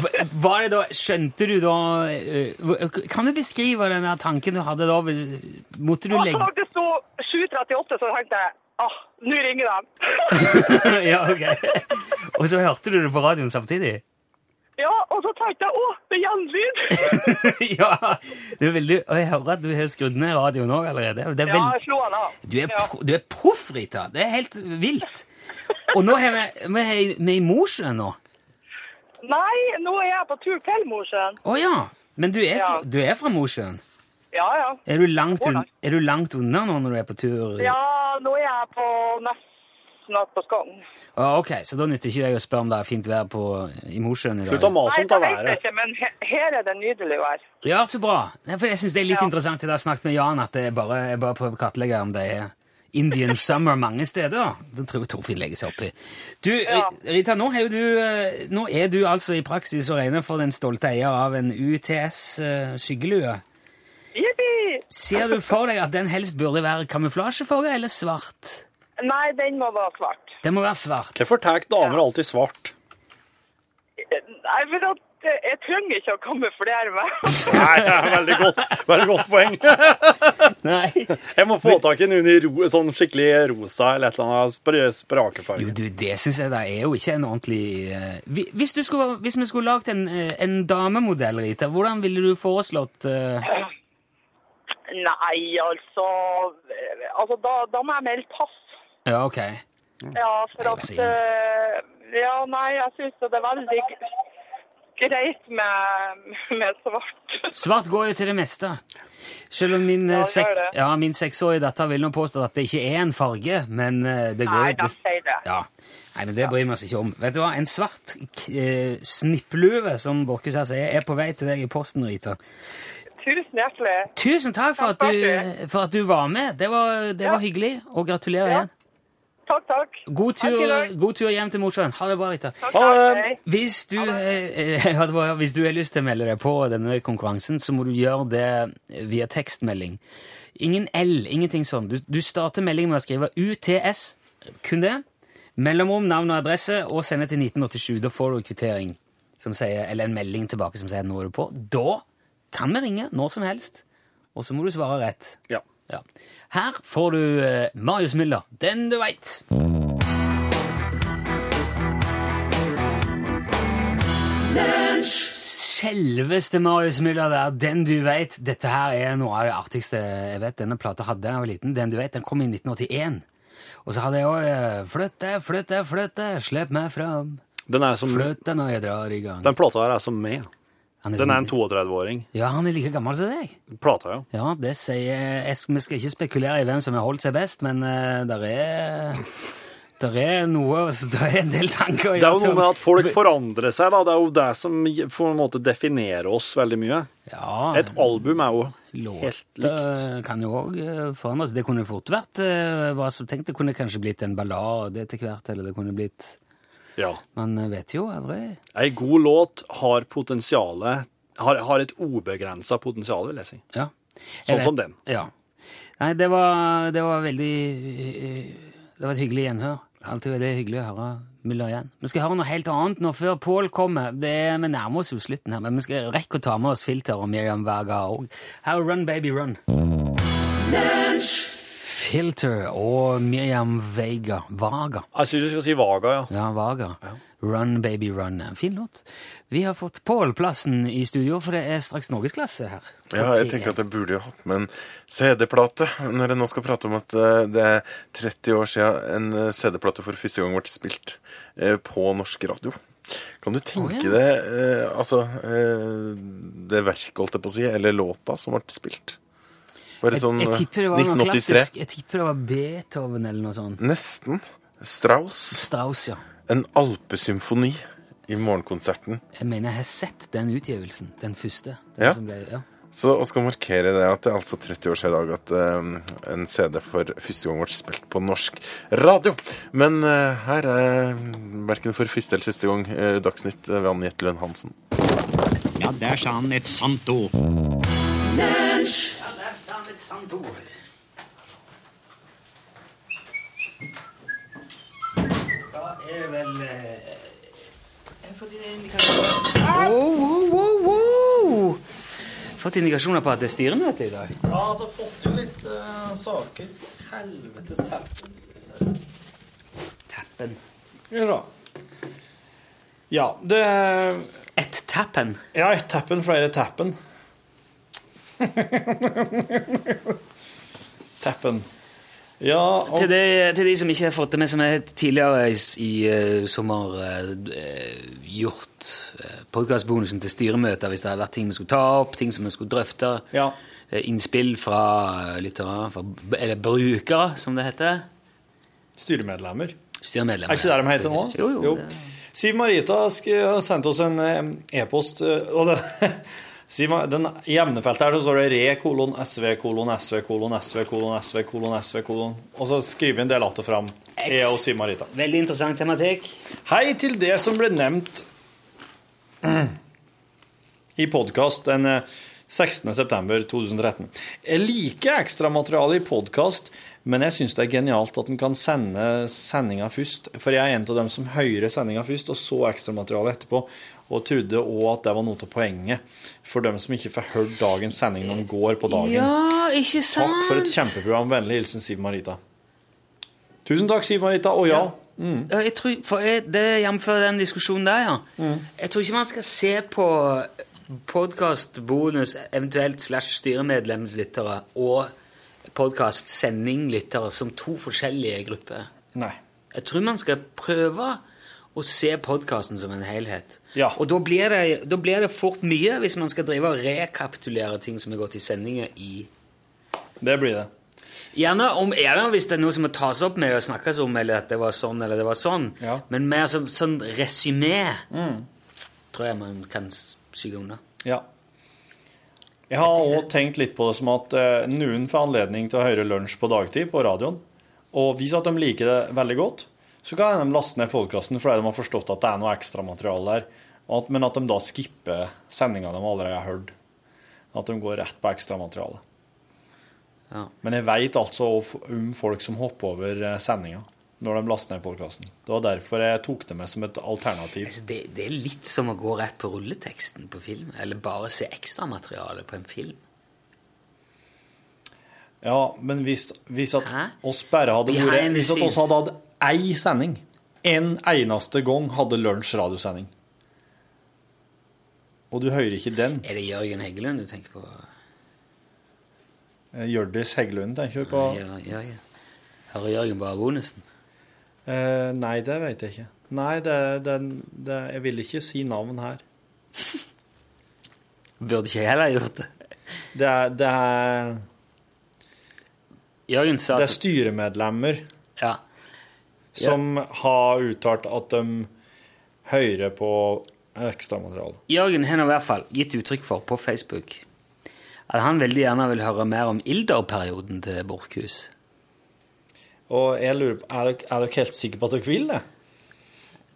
Speaker 3: Hva- Var det da, skjønte du da eh, hva- Kan du beskrive den der tanken du hadde da? Måtte du
Speaker 5: Og så
Speaker 3: legge
Speaker 5: Altså, det sto 7.38, så tenkte jeg ah, nå ringer de.
Speaker 3: Ja, ok. Og så hørte du det på radioen samtidig?
Speaker 5: Ja, og så tenkte jeg å, det er gjenlyd.
Speaker 3: ja. Det er veldig, og jeg hører at du har skrudd ned radioen òg allerede. Det er
Speaker 5: Ja,
Speaker 3: veldig,
Speaker 5: jeg slo han av.
Speaker 3: Du er,
Speaker 5: ja.
Speaker 3: pro, du er proff, Rita. Det er helt vilt. Og nå er vi, vi, er, vi er i Mosjøen nå.
Speaker 5: Nei, nå er jeg på tur til Mosjøen.
Speaker 3: Å ja. Men du er, fra-
Speaker 5: Ja.
Speaker 3: du er fra Mosjøen.
Speaker 5: Ja, ja.
Speaker 3: Er du, langt un,
Speaker 5: Hvordan?
Speaker 3: er du langt unna nå når du er på tur?
Speaker 5: Ja, nå er jeg på nesten alt på Skogn.
Speaker 3: Å, ok, Så da nytter ikke det å spørre om det er fint vær på, i Mosjøen i dag?
Speaker 4: Slutt å mase om
Speaker 5: Nei, det
Speaker 4: ta
Speaker 5: vet jeg
Speaker 4: været.
Speaker 5: ikke, men he- her er det nydelig vær.
Speaker 3: Ja, så bra. Nei, For jeg syns det er litt
Speaker 5: Ja.
Speaker 3: interessant det jeg har snakket med Jan, at jeg bare, jeg bare prøver å kartlegge om det er Indian summer mange steder. Det tror jeg Torfinn legger seg opp i. Du,
Speaker 5: Ja.
Speaker 3: Rita, nå er, jo du, eh, nå er du altså i praksis å regne for den stolte eier av en UTS-skyggelue.
Speaker 5: Jippi!
Speaker 3: eh, Ser du for deg at den helst burde være kamuflasjefarge eller svart?
Speaker 5: Nei, den må være svart.
Speaker 3: Den må være svart.
Speaker 4: Hvorfor tar damer alltid svart?
Speaker 5: Nei, for at eh, jeg trenger ikke å kamuflere meg.
Speaker 4: Nei, det er veldig godt, veldig godt poeng.
Speaker 3: Nei.
Speaker 4: Jeg må få tak i noen i ro, sånn skikkelig rosa eller et eller annet spre- sprakefarge.
Speaker 3: Jo, du, det syns jeg da er jo ikke en ordentlig eh, hvi- Hvis, du skulle, hvis vi skulle lagd en, eh, en damemodell, Rita, hvordan ville du foreslått eh,
Speaker 5: Nei, altså eh, Altså, da, da må jeg melde pass.
Speaker 3: Ja, ok.
Speaker 5: Ja, for
Speaker 3: Nei,
Speaker 5: at
Speaker 3: men
Speaker 5: eh, Ja, nei, jeg syns det er veldig g- greit med, med svart.
Speaker 3: Svart går jo til det meste. Selv om min, eh,
Speaker 5: Ja, det
Speaker 3: sek
Speaker 5: gjør det.
Speaker 3: ja, min seksårige datter vil nå påstå at det ikke er en farge, men eh, det går
Speaker 5: Nei,
Speaker 3: jo
Speaker 5: de
Speaker 3: det-
Speaker 5: sier det.
Speaker 3: Ja. Nei, men det bryr vi oss ikke om. Vet du hva, en svart k- eh, snipplue, som Borchhus her sier, er på vei til deg i posten, Rita.
Speaker 5: Tusen hjertelig.
Speaker 3: Tusen takk for at du, for at du var med. Det var, det var hyggelig, og gratulerer
Speaker 5: Ja.
Speaker 3: igjen.
Speaker 5: Takk, takk.
Speaker 3: God
Speaker 5: Takk
Speaker 3: tur,
Speaker 5: i dag.
Speaker 3: god tur hjem til Mosjøen. Ha det bra, Rita.
Speaker 5: Takk,
Speaker 4: Ha
Speaker 5: takk.
Speaker 4: det.
Speaker 5: Hei.
Speaker 3: Hvis du, eh, eh, ja, det var- hvis du har lyst til å melde deg på denne konkurransen, så må du gjøre det via tekstmelding. Ingen L, ingenting sånn. Du, du starter meldingen med å skrive UTS, kun det. Mellomrom, navn og adresse, og sende til 1987. Da får du en kvittering, som sier, eller en melding tilbake som sier nå er du på. Da kan vi ringe når som helst, og så må du svare rett.
Speaker 4: Ja.
Speaker 3: Ja. Her får du eh, Marius Müller, den du veit. Selveste Marius Müller der, den du veit. Dette her er noe av det artigste jeg vet. Denne plata hadde jeg da jeg var liten. Den du vet, den kom i 1981. Og så hadde jeg òg Flytte, flytte, flytte, slipp meg fram.
Speaker 4: Den er som Den
Speaker 3: Flytte når jeg drar i gang.
Speaker 4: plata her er som meg.
Speaker 3: Han
Speaker 4: Den er en
Speaker 3: som-
Speaker 4: 32-åring.
Speaker 3: Ja, han er like gammel som deg.
Speaker 4: Plata, ja.
Speaker 3: Ja, det sier jeg, skal- Vi skal ikke spekulere i hvem som har holdt seg best, men uh, der er der er noe Det er en del tanker. i
Speaker 4: Det er jo noe
Speaker 3: som-
Speaker 4: med at folk forandrer seg, da. Det er jo det som på en måte definerer oss veldig mye.
Speaker 3: ja,
Speaker 4: Et album er jo helt likt.
Speaker 3: Låter kan jo òg forandres. Det kunne fort vært eh, hva som tenkt. Det kunne kanskje blitt en ballade etter hvert, eller det kunne blitt
Speaker 4: Ja.
Speaker 3: Man eh, vet jo aldri.
Speaker 4: Ei god låt har potensialet har, har et ubegrensa potensial, vil jeg si.
Speaker 3: Ja. Jeg
Speaker 4: Sånn
Speaker 3: vet-
Speaker 4: som den.
Speaker 3: Ja. Nei, det var, det var veldig eh, Det var et hyggelig gjenhør. Alltid veldig hyggelig å høre Müller igjen. Vi skal høre noe helt annet nå før Pål kommer. Det er, vi nærmer oss jo slutten her, men vi skal rekke å ta med oss Filter og Miriam Vaga òg. Her er Run Baby Run. Filter og Miriam Vega. Vaga.
Speaker 4: Jeg syns du skal si Vaga, ja.
Speaker 3: Ja, Vaga. Run Baby Run. En Fin låt. Vi har fått Pål-plassen i studio, for det er straks norgesklasse her.
Speaker 7: Ja, jeg tenker at jeg burde jo hatt med en CD-plate, når jeg nå skal prate om at eh, det er 30 år siden en eh, CD-plate for første gang ble spilt eh, på norsk radio. Kan du tenke
Speaker 3: Å, ja.
Speaker 7: deg eh, altså eh, det verket, holdt jeg på å si, eller låta som ble spilt? Bare
Speaker 3: Jeg,
Speaker 7: sånn
Speaker 3: jeg
Speaker 7: eh,
Speaker 3: tipper det var noe
Speaker 7: 1983.
Speaker 3: klassisk. Jeg tipper det var Beethoven eller noe sånt.
Speaker 7: Nesten. Strauss.
Speaker 3: Strauss, ja.
Speaker 7: En alpesymfoni i morgenkonserten.
Speaker 3: Jeg mener jeg har sett den utgivelsen. Den første. Den
Speaker 7: Ja.
Speaker 3: som ble, ja.
Speaker 7: Så og skal markere det at det er altså 30 år siden i dag at eh, en CD for første gang ble spilt på norsk radio. Men eh, her er verken for første eller siste gang eh, Dagsnytt eh, ved Anne Jetlund Hansen.
Speaker 8: Ja, der sa han et sant ord.
Speaker 3: Da er det vel eh, Jeg har fått indikasjoner wow, wow, wow, wow. Fått indikasjoner på at det er styremøte i dag.
Speaker 6: Ja, altså fått inn litt eh, saker. Helvetes teppe.
Speaker 3: Tappen.
Speaker 6: Ja. ja, det
Speaker 3: Et tappen.
Speaker 6: Ja, ett tappen, flere tappen. tappen. Ja, og
Speaker 3: Til de, til de som ikke har fått det med, som er tidligere i, s- i eh, sommer eh, eh, gjort uh, podkastbonusen til styremøter hvis det hadde vært ting vi skulle ta opp, ting som vi skulle drøfte.
Speaker 6: Ja.
Speaker 3: Eh, Innspill fra eh, lyttere, fra, b- eller brukere, som det heter.
Speaker 6: styremedlemmer.
Speaker 3: Styremedlemmer.
Speaker 6: Er ikke det de heter nå?
Speaker 3: Jo, jo. det-
Speaker 6: Siv Marita sk- sendte oss en eh, e-post, eh, og det, Siv Ma- den, i emnefeltet her så står det re kolon sv kolon sv kolon sv kolon sv kolon sv kolon, og så skriver vi en del av det fram. Jeg og Siv Marita.
Speaker 3: Veldig interessant tematikk.
Speaker 6: Hei til det som ble nevnt i podkast den eh, 16. september 2013. Jeg liker ekstramateriale i podkast, men jeg syns det er genialt at en kan sende sendinga først. For jeg er en av dem som hører sendinga først, og så ekstramaterialet etterpå. Og trodde òg at det var noe av poenget for dem som ikke får hørt dagens sending når de går på dagen.
Speaker 3: Ja, ikke sant?
Speaker 6: Takk for et kjempeprogram. Vennlig hilsen Siv Marita. Tusen takk, Siv Marita. Og ja.
Speaker 3: Ja, Jeg tror, for jeg, det er jf. den diskusjonen der, ja. Jeg tror ikke man skal se på podkastbonus, eventuelt slash styremedlemslyttere, og podkast-sending-lyttere som to forskjellige grupper.
Speaker 6: Nei.
Speaker 3: Jeg tror man skal prøve å se podkasten som en helhet.
Speaker 6: Ja.
Speaker 3: Og da blir, det, da blir det fort mye hvis man skal drive og rekapitulere ting som er gått i sendinger i
Speaker 6: Det blir det.
Speaker 3: Gjerne om gjerne hvis det er noe som må tas opp med det og snakkes om, eller at det var sånn eller det var sånn.
Speaker 6: Ja. Mm.
Speaker 3: Men mer som sånn resymé tror jeg man kan s- skygge unna.
Speaker 6: Ja. Jeg har òg tenkt litt på det som at eh, noen får anledning til å høre lunsj på dagtid på radioen. Og hvis at de liker det veldig godt, så kan de laste ned podkasten fordi de har forstått at det er noe ekstramateriale der. Og at- Men at de da skipper sendinga de allerede har hørt. At de går rett på ekstramaterialet.
Speaker 3: Ja.
Speaker 6: Men jeg veit altså of- om folk som hopper over eh, sendinga når de laster ned podkasten. Det var derfor jeg tok det med som et alternativ.
Speaker 3: Altså, det, det er litt som å gå rett på rulleteksten på film, eller bare se ekstramateriale på en film.
Speaker 6: Ja, men hvis, hvis at
Speaker 3: Hæ?
Speaker 6: oss bare hadde
Speaker 3: Behind
Speaker 6: vært
Speaker 3: the
Speaker 6: Hvis at
Speaker 3: scenes.
Speaker 6: oss hadde hatt ei sending, en eneste gang hadde lunsj radiosending. Og du hører ikke den.
Speaker 3: Er det Jørgen Heggelund du tenker på?
Speaker 6: Eh, Hjørdis Heggelund tenker du på?
Speaker 3: Ja, ja, ja. Hører Jørgen bare bonusen?
Speaker 6: Eh, nei, det vet jeg ikke. Nei, det, det, det, jeg vil ikke si navn her.
Speaker 3: Burde ikke jeg heller gjort det.
Speaker 6: Det er, det er,
Speaker 3: Jørgen sa
Speaker 6: det
Speaker 3: at-
Speaker 6: er styremedlemmer
Speaker 3: ja.
Speaker 6: som har uttalt at de hører på ekstramateriale.
Speaker 3: Jørgen har nå i hvert fall gitt uttrykk for på Facebook at han veldig gjerne vil høre mer om Ilder-perioden til Borchhus.
Speaker 6: Og jeg lurer på Er dere, er dere helt sikre på at dere vil det?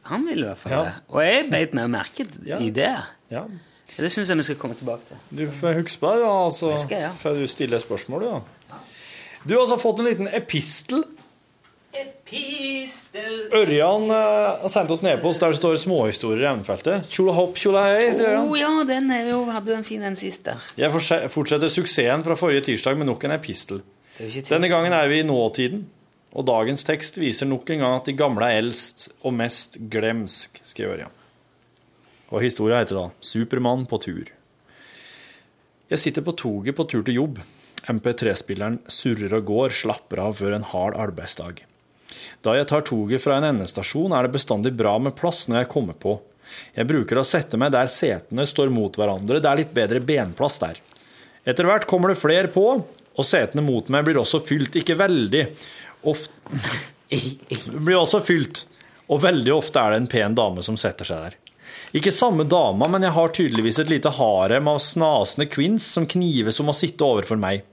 Speaker 3: Han ville i hvert fall
Speaker 6: Ja.
Speaker 3: det. Og jeg beit meg merke
Speaker 6: Ja.
Speaker 3: i det.
Speaker 6: Ja.
Speaker 3: Det syns jeg vi skal komme tilbake til.
Speaker 6: Du får huske på det, da, og så
Speaker 3: skal jeg, ja.
Speaker 6: får du stille spørsmål, du, da. Du har altså fått en liten epistel. Ørjan eh, har sendt oss en e-post der det står 'småhistorier i emnefeltet'. Tjola hopp, tjola hei, sier
Speaker 3: Å
Speaker 6: han.
Speaker 3: Oh, ja, den er jo, hadde jo en fin en sist der.
Speaker 6: Jeg forse- fortsetter suksessen fra forrige tirsdag med nok en epistel.
Speaker 3: Det er jo ikke
Speaker 6: Denne
Speaker 3: trist.
Speaker 6: gangen er vi i nåtiden, og dagens tekst viser nok en gang at de gamle er eldst og mest glemsk, skal jeg gjøre, ja. Og historia heter da 'Supermann på tur'. Jeg sitter på toget på tur til jobb. MP3-spilleren surrer og går, slapper av før en hard arbeidsdag. Da jeg tar toget fra en endestasjon, er det bestandig bra med plass når jeg kommer på. Jeg bruker å sette meg der setene står mot hverandre, det er litt bedre benplass der. Etter hvert kommer det flere på, og setene mot meg blir også fylt, ikke veldig ofte Blir også fylt, og veldig ofte er det en pen dame som setter seg der. Ikke samme dama, men jeg har tydeligvis et lite harem av snasende kvinns som knives om å sitte overfor meg.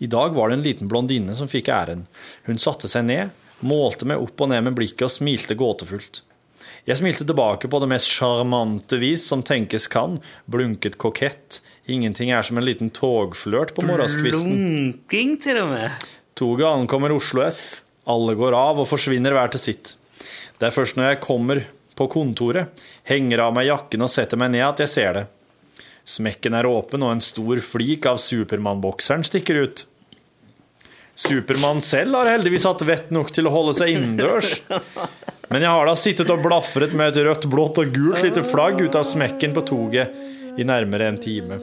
Speaker 6: I dag var det en liten blondine som fikk æren. Hun satte seg ned, målte meg opp og ned med blikket og smilte gåtefullt. Jeg smilte tilbake på det mest sjarmante vis som tenkes kan, blunket kokett. Ingenting er som en liten togflørt på morgenskvisten.
Speaker 3: Lunking til og med.
Speaker 6: Toget ankommer Oslo S. Alle går av og forsvinner hver til sitt. Det er først når jeg kommer på kontoret, henger av meg jakken og setter meg ned at jeg ser det. Smekken er åpen, og en stor flik av Supermann-bokseren stikker ut. Supermann selv har heldigvis hatt vett nok til å holde seg innendørs. Men jeg har da sittet og blafret med et rødt, blått og gult lite flagg ut av smekken på toget i nærmere en time.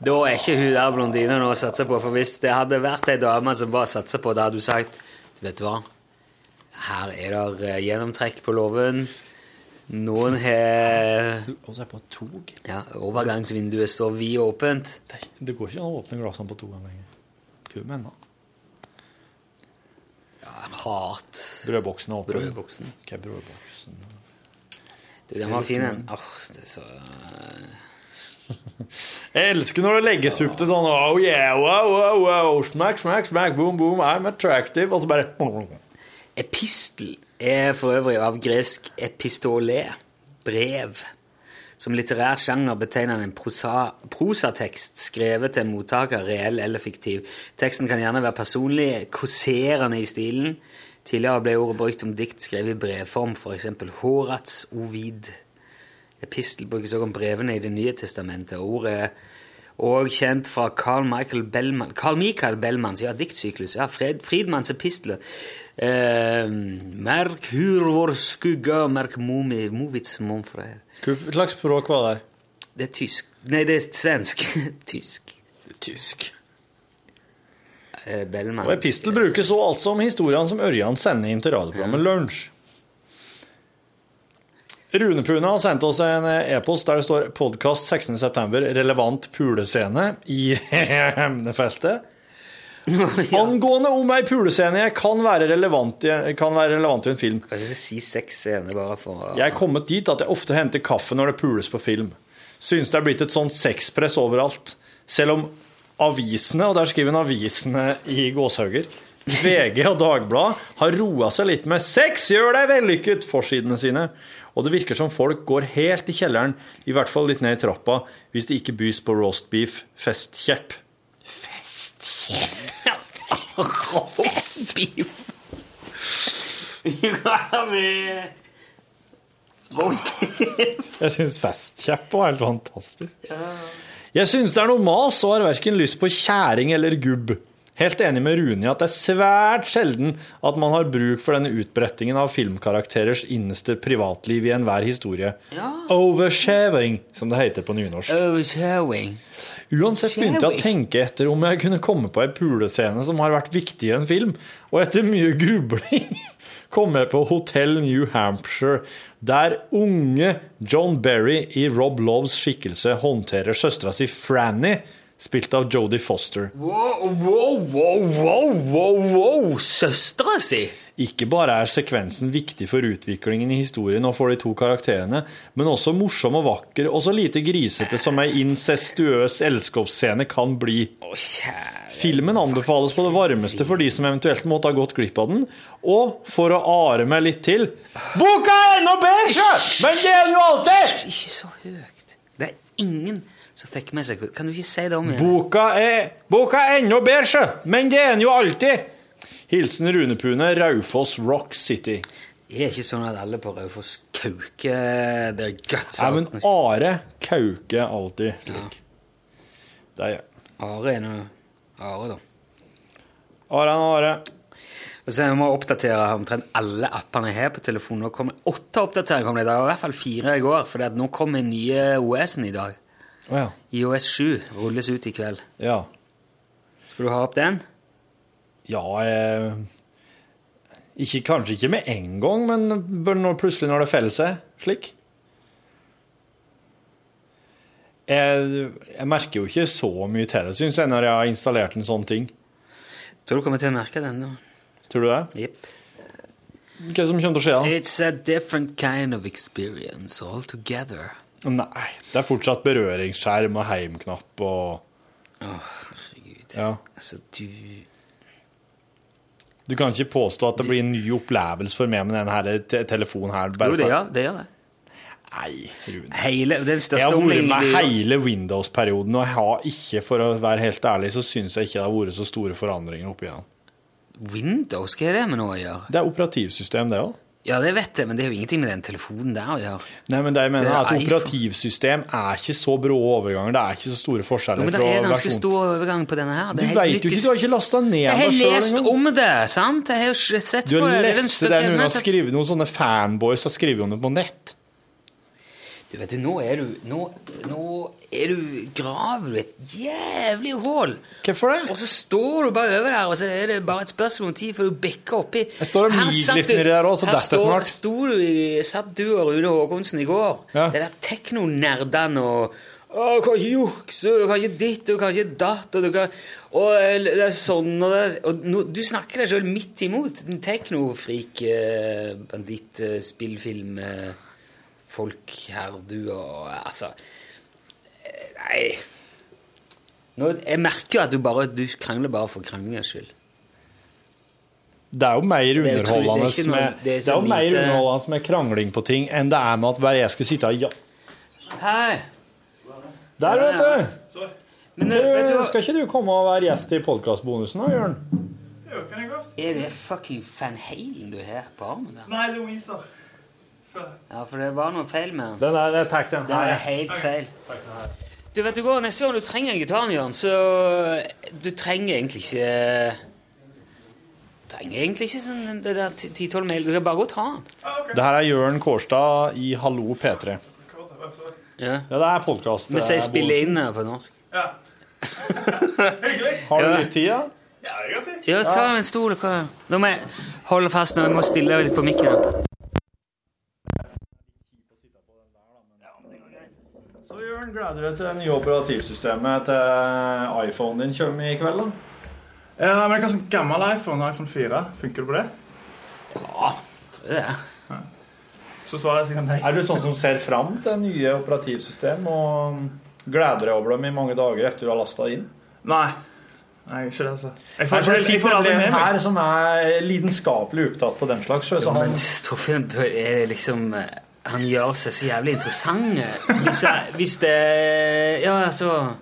Speaker 3: Da er ikke hun der blondina nå å satse på, for hvis det hadde vært ei dame som bare satsa på, da hadde hun sagt du Vet du hva, her er det eh, gjennomtrekk på låven. Noen har
Speaker 6: Og så er jeg på et tog.
Speaker 3: ja, Overgangsvinduet står vidåpent.
Speaker 6: Det, er ikke- det går ikke an å åpne glassene på to ganger lenger. Kø med ennå.
Speaker 3: Hat.
Speaker 6: Brødboksen er åpen.
Speaker 3: Brødboksen.
Speaker 6: Hva er brødboksen?
Speaker 3: Du, den var fin, den. Åh, det er så
Speaker 6: Jeg elsker når det legges opp til sånn Oh yeah, wow, wow, wow. Smack, smack, smack, boom, boom. I'm attractive. Og så bare
Speaker 3: Epistel er for øvrig av gresk epistolé, brev. Som litterær sjanger betegner den en prosa, prosatekst skrevet til en mottaker, reell eller fiktiv. Teksten kan gjerne være personlig, kåserende i stilen. Tidligere ble ordet brukt om dikt skrevet i brevform, f.eks. Horats Ovid. Epistel brukes også om brevene i Det nye testamentet. og Ordet er også kjent fra Carl Michael Bellman, Carl Michael Bellmans ja, diktsyklus. ja, Fred, Friedmanns epistler. Eh, merk hur vår skugge, merk momi, movits monfraer.
Speaker 6: Hva slags språk var det der?
Speaker 3: Det er tysk Nei, det er svensk. tysk. Tysk. Eh, Bellmans
Speaker 6: Og Epistel brukes så altså om historiene som Ørjan sender inn til radioprogrammet Lunsj. Rune Pune har sendt oss en eh, e-post der det står 'Podkast 16.9. Relevant pulescene' i emnefeltet. Angående om ei pulescene jeg kan være relevant i, kan være relevant i en film.
Speaker 3: Kan ikke si seks scener bare for å
Speaker 6: Jeg er kommet dit at jeg ofte henter kaffe når det pules på film. Synes det er blitt et sånt sexpress overalt. Selv om avisene, og der skriver hun avisene i gåshauger, VG og Dagbladet har roa seg litt med 'Sex gjør deg vellykket!' forsidene sine. Og det virker som folk går helt i kjelleren, i hvert fall litt ned i trappa, hvis det ikke bys på roast beef, festkjepp.
Speaker 3: Beef. You gotta be
Speaker 6: Jeg syns festkjepp var helt fantastisk. Jeg syns det er noe mas og har verken lyst på kjæring eller gubb. Helt enig med Rune i at det er svært sjelden at man har bruk for denne utbrettingen av filmkarakterers innerste privatliv i enhver historie. Oversharing, som det heter på nynorsk.
Speaker 3: Overshowing.
Speaker 6: Uansett begynte jeg å tenke etter om jeg kunne komme på ei pulescene som har vært viktig i en film, og etter mye grubling kom jeg på Hotell New Hampshire, der unge John Berry i Rob Loves skikkelse håndterer søstera si Franny, spilt av Jodie Foster.
Speaker 3: Wow, wow, wow, wow, wow, wow. Søstera si!
Speaker 6: Ikke bare er sekvensen viktig for utviklingen i historien og for de to karakterene, men også morsom og vakker og så lite grisete som ei incestuøs elskovsscene kan bli.
Speaker 3: Å, kjære
Speaker 6: Filmen anbefales på det varmeste for de som eventuelt måtte ha gått glipp av den. Og for å are meg litt til Boka er enda bedre! Men det er jo alltid!
Speaker 3: Ikke så høyt. Det er ingen som fikk med seg Kan du ikke si det om igjen?
Speaker 6: Boka er, boka er enda bedre! Men det er den jo alltid! Hilsen Rune Pune, Raufoss Rock City.
Speaker 3: Det er ikke sånn at alle på Raufoss kauker eh, Det er guts
Speaker 6: Nei, men Are kauker alltid slik. Det er jeg.
Speaker 3: Are er noe Are, da.
Speaker 6: Are og Are.
Speaker 3: Og så må jeg oppdatere omtrent alle appene jeg har på telefonen. Nå kommer åtte oppdateringer kom det i dag, og i hvert fall fire i går, for nå kommer nye OS-en i dag.
Speaker 6: Å ja.
Speaker 3: IOS 7 rulles ut i kveld.
Speaker 6: ja.
Speaker 3: Skal du ha opp den?
Speaker 6: Ja eh, ikke, Kanskje ikke med en gang, men bør nå plutselig når det feller seg slik. Jeg, jeg merker jo ikke så mye til det, syns jeg, når jeg har installert en sånn ting.
Speaker 3: Tror du kommer til å merke den nå.
Speaker 6: Tror du det?
Speaker 3: Jepp.
Speaker 6: Hva som kommer til å skje da?
Speaker 3: It's a different kind of experience altogether.
Speaker 6: Nei, det er fortsatt berøringsskjerm og heimknapp og
Speaker 3: Herregud.
Speaker 6: ja.
Speaker 3: Altså, du
Speaker 6: Du kan ikke påstå at det blir en ny opplevelse for meg med denne her te telefonen her. bare
Speaker 3: Jo, det
Speaker 6: for-
Speaker 3: gjør det. Gjør det.
Speaker 6: Nei, Rune.
Speaker 3: Hele, den
Speaker 6: Jeg
Speaker 3: største
Speaker 6: har vært med
Speaker 3: omleggingen-
Speaker 6: hele Windows-perioden, og jeg har ikke, for å være helt ærlig, så syns jeg ikke det har vært så store forandringer oppi den.
Speaker 3: Windows, hva er det med noe å gjøre?
Speaker 6: Det er operativsystem, det òg.
Speaker 3: Ja, det vet jeg, men det er jo ingenting med den telefonen der å gjøre.
Speaker 6: Nei, men det jeg mener
Speaker 3: Det
Speaker 6: er
Speaker 3: er
Speaker 6: at
Speaker 3: iPhone.
Speaker 6: operativsystem er ikke så brå overganger. Det er ikke så store
Speaker 3: Jo,
Speaker 6: forskjeller
Speaker 3: men det er
Speaker 6: fra
Speaker 3: ganske
Speaker 6: versjon
Speaker 3: stor overgang på denne her.
Speaker 6: Du veit jo ikke, du har ikke lasta ned
Speaker 3: Jeg har
Speaker 6: det selv
Speaker 3: lest
Speaker 6: engang.
Speaker 3: om det, sant? Jeg har jo ikke sett
Speaker 6: Du
Speaker 3: på
Speaker 6: har
Speaker 3: det. det. er den
Speaker 6: lest
Speaker 3: største-
Speaker 6: det noen har
Speaker 3: Nei, så-
Speaker 6: skrevet, noen sånne fanboys har skrevet om det på nett.
Speaker 3: Du vet du, nå er du Nå, nå er du graver du et jævlig hull.
Speaker 6: Hvorfor
Speaker 3: Og
Speaker 6: det?
Speaker 3: så står du bare over der, og så er det bare et spørsmål om tid før du bikker oppi.
Speaker 6: Jeg står og
Speaker 3: Her
Speaker 6: mig
Speaker 3: satt
Speaker 6: litt
Speaker 3: du-
Speaker 6: nedi der også, så
Speaker 3: her
Speaker 6: dette
Speaker 3: står-
Speaker 6: snart.
Speaker 3: Sto du, i- satt du og Rune Håkonsen i går,
Speaker 6: Ja.
Speaker 3: det der teknonerdene og å, du kan ikke jukse, du kan ikke ditt, du kan ikke datt, og du kan Og eh, det er sånn og det er Og nå, du snakker deg sjøl midt imot, den teknofrik eh, banditt, eh, spillfilm eh, folk her, du og Altså eh, Nei. Nå, jeg merker jo at du bare du krangler bare for kranglingens skyld.
Speaker 6: Det er jo mer
Speaker 3: er utrolig- det
Speaker 6: underholdende
Speaker 3: er ikke noe-
Speaker 6: med, det
Speaker 3: det er
Speaker 6: er
Speaker 3: så
Speaker 6: jo mer
Speaker 3: lite-
Speaker 6: underholdende med krangling på ting enn det er med at bare jeg skulle sitte og ja.
Speaker 3: Hei!
Speaker 6: Der,
Speaker 3: Ja, ja.
Speaker 6: vet du!
Speaker 3: Men eh, vet du
Speaker 6: Du,
Speaker 3: hva?
Speaker 6: skal ikke du komme og være gjest i podkastbonusen da, Jørn?
Speaker 3: Er det fucking Van Halen du har på armen der?
Speaker 9: Nei, det er Weezer. Så
Speaker 3: Ja, for det var noe feil med den.
Speaker 6: Den er, jeg tar den
Speaker 3: Det
Speaker 6: her.
Speaker 3: var helt feil. Du vet du går, Neste gang du trenger gitaren, Jørn, så eh, Du trenger egentlig ikke eh, trenger egentlig ikke sånn det der 10-12 mail. Du kan bare gå og ta den.
Speaker 6: Det her er Jørn Kårstad i Hallo P3.
Speaker 9: kort, det var så-
Speaker 3: Ja.
Speaker 6: Ja, det er eh, podkast.
Speaker 3: Vi sier 'spille inn' her på norsk.
Speaker 9: Ja. Hyggelig.
Speaker 6: Har du
Speaker 3: Ja.
Speaker 6: litt tid, da?
Speaker 9: Ja, jeg har tid.
Speaker 3: Ja, ta en stol. hva- Nå må jeg holde fast når jeg må stille litt på mikken. her.
Speaker 6: Så Jørn, gleder du deg til det nye operativsystemet til iPhonen din kommer i kveld? da?
Speaker 9: Eh, nei, men hva slags gammel iPhone? iPhone 4? Funker det på det?
Speaker 3: Tror jeg det er.
Speaker 9: Så svarer jeg sikkert nei.
Speaker 6: Er du sånn som ser fram til nye operativsystem og gleder deg over dem i mange dager etter du har lasta inn?
Speaker 9: Nei. Nei, ikke det, altså.
Speaker 6: Her
Speaker 9: Jeg får, jeg får,
Speaker 6: så
Speaker 9: jeg får,
Speaker 6: sitter
Speaker 9: aldri
Speaker 6: det
Speaker 9: med
Speaker 6: en
Speaker 9: meg.
Speaker 6: her som er lidenskapelig opptatt av den slags. sjø, Så sånn- han,
Speaker 3: Torfinn Bø er liksom eh, Han gjør seg så jævlig interessant. eh, Hvis, jeg- hvis det Ja, altså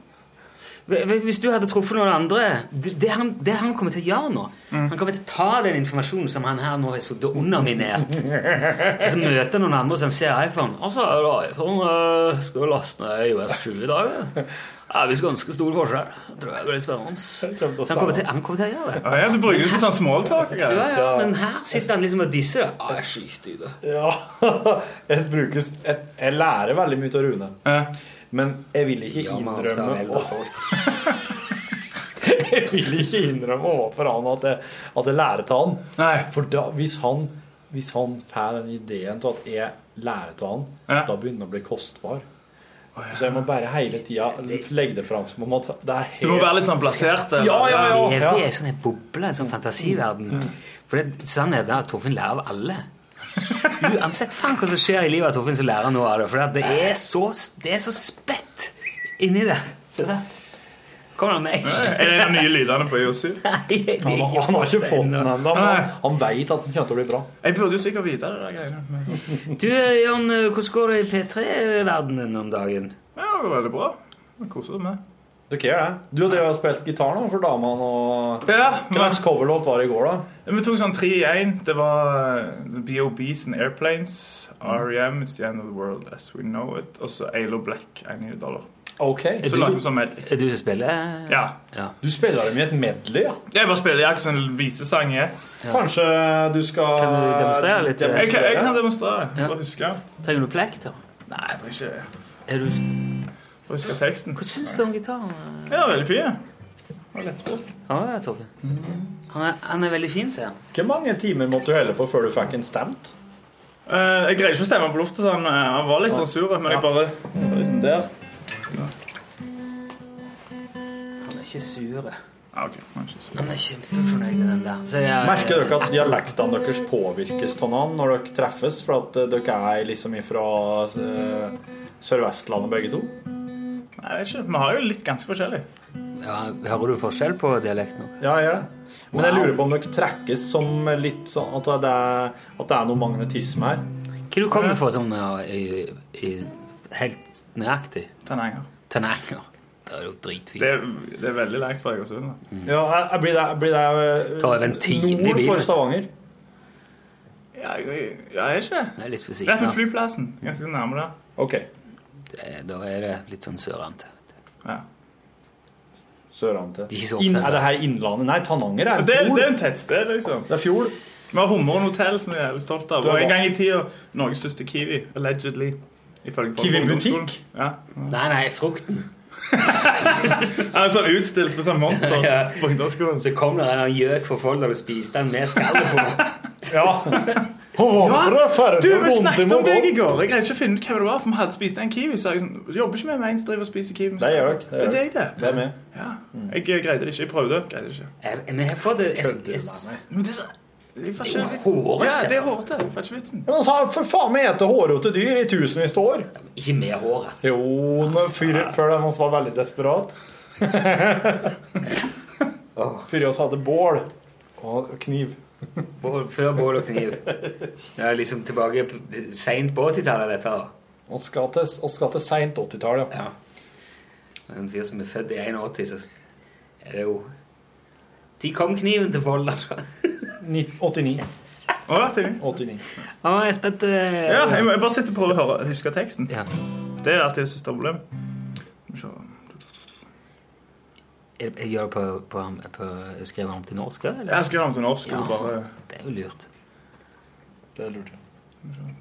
Speaker 3: Hv- hv- Hvis du hadde truffet noen andre Det det han, det han kommer til å gjøre nå
Speaker 6: Mm.
Speaker 3: Han kommer til å ta den informasjonen som han her nå har sittet og underminert. Og så møter noen andre som ser iPhone. Og så er det iPhone. eh, Skal vi laste ned IOS 7 i dag? eh? Det er visst ganske stor forskjell. Det tror jeg blir
Speaker 6: kommer til å
Speaker 3: spennende. Han kommer til, han kommer til å gjøre det.
Speaker 9: Ja, ja, du bruker det til sånn smalltalk. og
Speaker 3: Ja,
Speaker 9: greier.
Speaker 3: ja, men her sitter han liksom og disser det. Ah, skit i det.
Speaker 6: ja, jeg, brukes, jeg, jeg lærer veldig mye av Rune.
Speaker 9: Ja.
Speaker 6: Men jeg vil ikke
Speaker 3: Ja, men han tar
Speaker 6: innrømme
Speaker 3: vel
Speaker 6: å-
Speaker 3: på folk.
Speaker 6: Jeg vil ikke innrømme overfor han at jeg, at jeg lærer til han.
Speaker 9: Nei.
Speaker 6: For da, hvis han, hvis han får den ideen til at jeg lærer til han,
Speaker 9: Ja.
Speaker 6: da begynner det å bli kostbar. Så jeg må bare hele tida legge det fram som om at det er helt
Speaker 9: Du må være litt sånn plassert. eller?
Speaker 6: Ja, ja, ja. Mm.
Speaker 3: Evig er en sånn en boble, en sånn fantasiverden. For det, sannheten er at Torfinn lærer av alle. Uansett faen hva som skjer i livet av Torfinn, så lærer han noe av det. For det er så, det er så spett inni det. Se der. Kommer han med?
Speaker 9: Er det en av de nye lydene på E IOS7?
Speaker 3: Nei, jeg
Speaker 6: Han,
Speaker 3: har
Speaker 6: har- han har ikke fått den
Speaker 3: ennå.
Speaker 6: ennå, men han,
Speaker 9: Nei.
Speaker 6: han veit at den kommer til å bli bra.
Speaker 9: Jeg burde jo sikkert vite det. der greiene. men-
Speaker 3: Du, Jan, hvordan går det i P3-verdenen om dagen?
Speaker 9: Ja, det var veldig bra. Jeg koser meg med.
Speaker 6: Du care, det. Du har drevet og spilt gitar nå for damene, og
Speaker 9: Ja,
Speaker 6: hva
Speaker 9: men,
Speaker 6: slags coverlåt var det i går, da?
Speaker 9: vi tok sånn tre i én. Det var eh, BOBs and E Airplanes, REM, It's the End of the World As We Know It, og så Ailo Black, I Need a Dollar.
Speaker 6: OK.
Speaker 9: Så lager vi sånn medley.
Speaker 3: Er det du som spiller?
Speaker 9: Ja.
Speaker 6: Du spiller dem i et medley, ja?
Speaker 9: Jeg bare spiller. Jeg er ikke sånn visesang jeg.
Speaker 6: Kanskje du skal
Speaker 3: Kan du demonstrere litt?
Speaker 9: Jeg kan, jeg kan demonstrere. Bare huske.
Speaker 3: Trenger du plekk, da?
Speaker 9: Nei, jeg tror ikke
Speaker 3: Er du...
Speaker 9: bare huske teksten.
Speaker 3: Hva syns du om gitaren?
Speaker 9: Ja, veldig fin. Og lettspilt.
Speaker 3: Ja, det er Mm. Torfinn. Han, er- han er veldig fin, sier han.
Speaker 6: Hvor mange timer måtte du helle på før du fikk en stemt?
Speaker 9: Eh, jeg greide ikke å stemme på lufta, så han, eh, han var litt sånn sur. Men jeg bare liksom Der.
Speaker 3: Han er ikke sur.
Speaker 9: Ah, ok. Han er ikke sur.
Speaker 3: Han er kjempefornøyd med den der. Så jeg,
Speaker 6: Merker dere at dialektene deres påvirkes av hverandre når dere treffes? For at eh, dere er liksom ifra eh, Sør-Vestlandet begge to?
Speaker 9: Nei, jeg vet ikke. Vi har jo litt ganske forskjellig.
Speaker 3: Ja, Hører du forskjell på dialekten òg?
Speaker 6: Ja, jeg gjør det. Men jeg lurer på om dere trekkes som litt sånn at det er, at det er noe magnetisme her.
Speaker 3: Hva du kommer du fra sånn ja, i, i, helt nøyaktig?
Speaker 9: Tenninger.
Speaker 3: Tenninger. Det er jo dritfint.
Speaker 9: Det, er- det er veldig langt fra Egersund. da.
Speaker 6: Ja, jeg- jeg blir der, jeg blir der eh,
Speaker 3: Mm. Ta over en time i
Speaker 6: nord
Speaker 3: bilen.
Speaker 6: for Stavanger.
Speaker 9: Ja, jeg, jeg er ikke det.
Speaker 3: Det er litt for
Speaker 9: Rett
Speaker 3: siden
Speaker 9: ved
Speaker 3: av.
Speaker 9: flyplassen. Ganske nærme der.
Speaker 6: OK.
Speaker 3: Det- Eh, Da er det litt sånn sørante. vet du.
Speaker 9: Ja.
Speaker 6: Sørante.
Speaker 3: De er ikke så
Speaker 6: Inn-
Speaker 3: opptatt.
Speaker 6: Er det her Innlandet? Nei, Tananger er en
Speaker 9: Det, er- det er
Speaker 6: fjord.
Speaker 9: en tettsted, liksom.
Speaker 6: Det er fjord.
Speaker 9: Vi har Hummeren hotell, som jeg er veldig stolt av.
Speaker 6: Du har
Speaker 9: Og
Speaker 6: hva?
Speaker 9: en gang i tida Norges største Kiwi. Allegedly. Ifølge folk
Speaker 6: Kiwi
Speaker 9: på
Speaker 6: butikk?
Speaker 9: ungdomsskolen. Ja.
Speaker 3: Nei, nei, frukten.
Speaker 9: Han er sånn utstilt på sånn monter
Speaker 3: Ja.
Speaker 9: på ungdomsskolen.
Speaker 3: Så kom det en gjøk for folk da du spiste den med skallet på.
Speaker 6: Ja.
Speaker 9: Du, vi snakket om deg i går. Jeg greide ikke å finne ut hva det var, for vi hadde spist en Kiwi. Så jeg sånn, du jobber ikke med meg en som driver og spiser Kiwi.
Speaker 6: Det gjør jeg.
Speaker 9: Det er deg, det.
Speaker 6: Det er med.
Speaker 9: Ja. Jeg greide det ikke. Jeg prøvde. Greide det ikke.
Speaker 3: Jeg- Men jeg får det jeg-
Speaker 6: Kødder
Speaker 3: jeg-
Speaker 6: du med meg?
Speaker 9: Men det er så... Jeg får ikke vitsen.
Speaker 3: Hårete.
Speaker 9: Ja, det er hårete. Jeg får ikke vitsen.
Speaker 6: Men altså, for faen meg ete hårete dyr i tusenvis av år.
Speaker 3: Ikke med håret.
Speaker 6: Jo, når fyr- før den også var veldig desperat. Før vi også hadde bål og kniv.
Speaker 3: Bål- Før bål og kniv. Det er liksom tilbake på- sent på 80-tallet, dette. da.
Speaker 6: Og skal til, og skal til seint 80-tall, ja.
Speaker 3: Ja. Men En fyr som er født i 81, så er det jo De kom kniven til Folda.
Speaker 6: Ni- 89.
Speaker 9: Å, vær så snill.
Speaker 6: 89.
Speaker 3: Å, jeg er spent. eh,
Speaker 9: Ja, jeg, må, jeg bare sitter og prøver å høre, huske teksten.
Speaker 3: Ja.
Speaker 9: Det er alltid det største problemet. Skal vi se.
Speaker 3: Jeg, jeg gjør det på, på, på Skriver han om til norsk, eller?
Speaker 9: Jeg skal gjøre den til norsk.
Speaker 3: Ja.
Speaker 9: og Bare...
Speaker 3: Det er jo lurt.
Speaker 6: Det lurte jeg.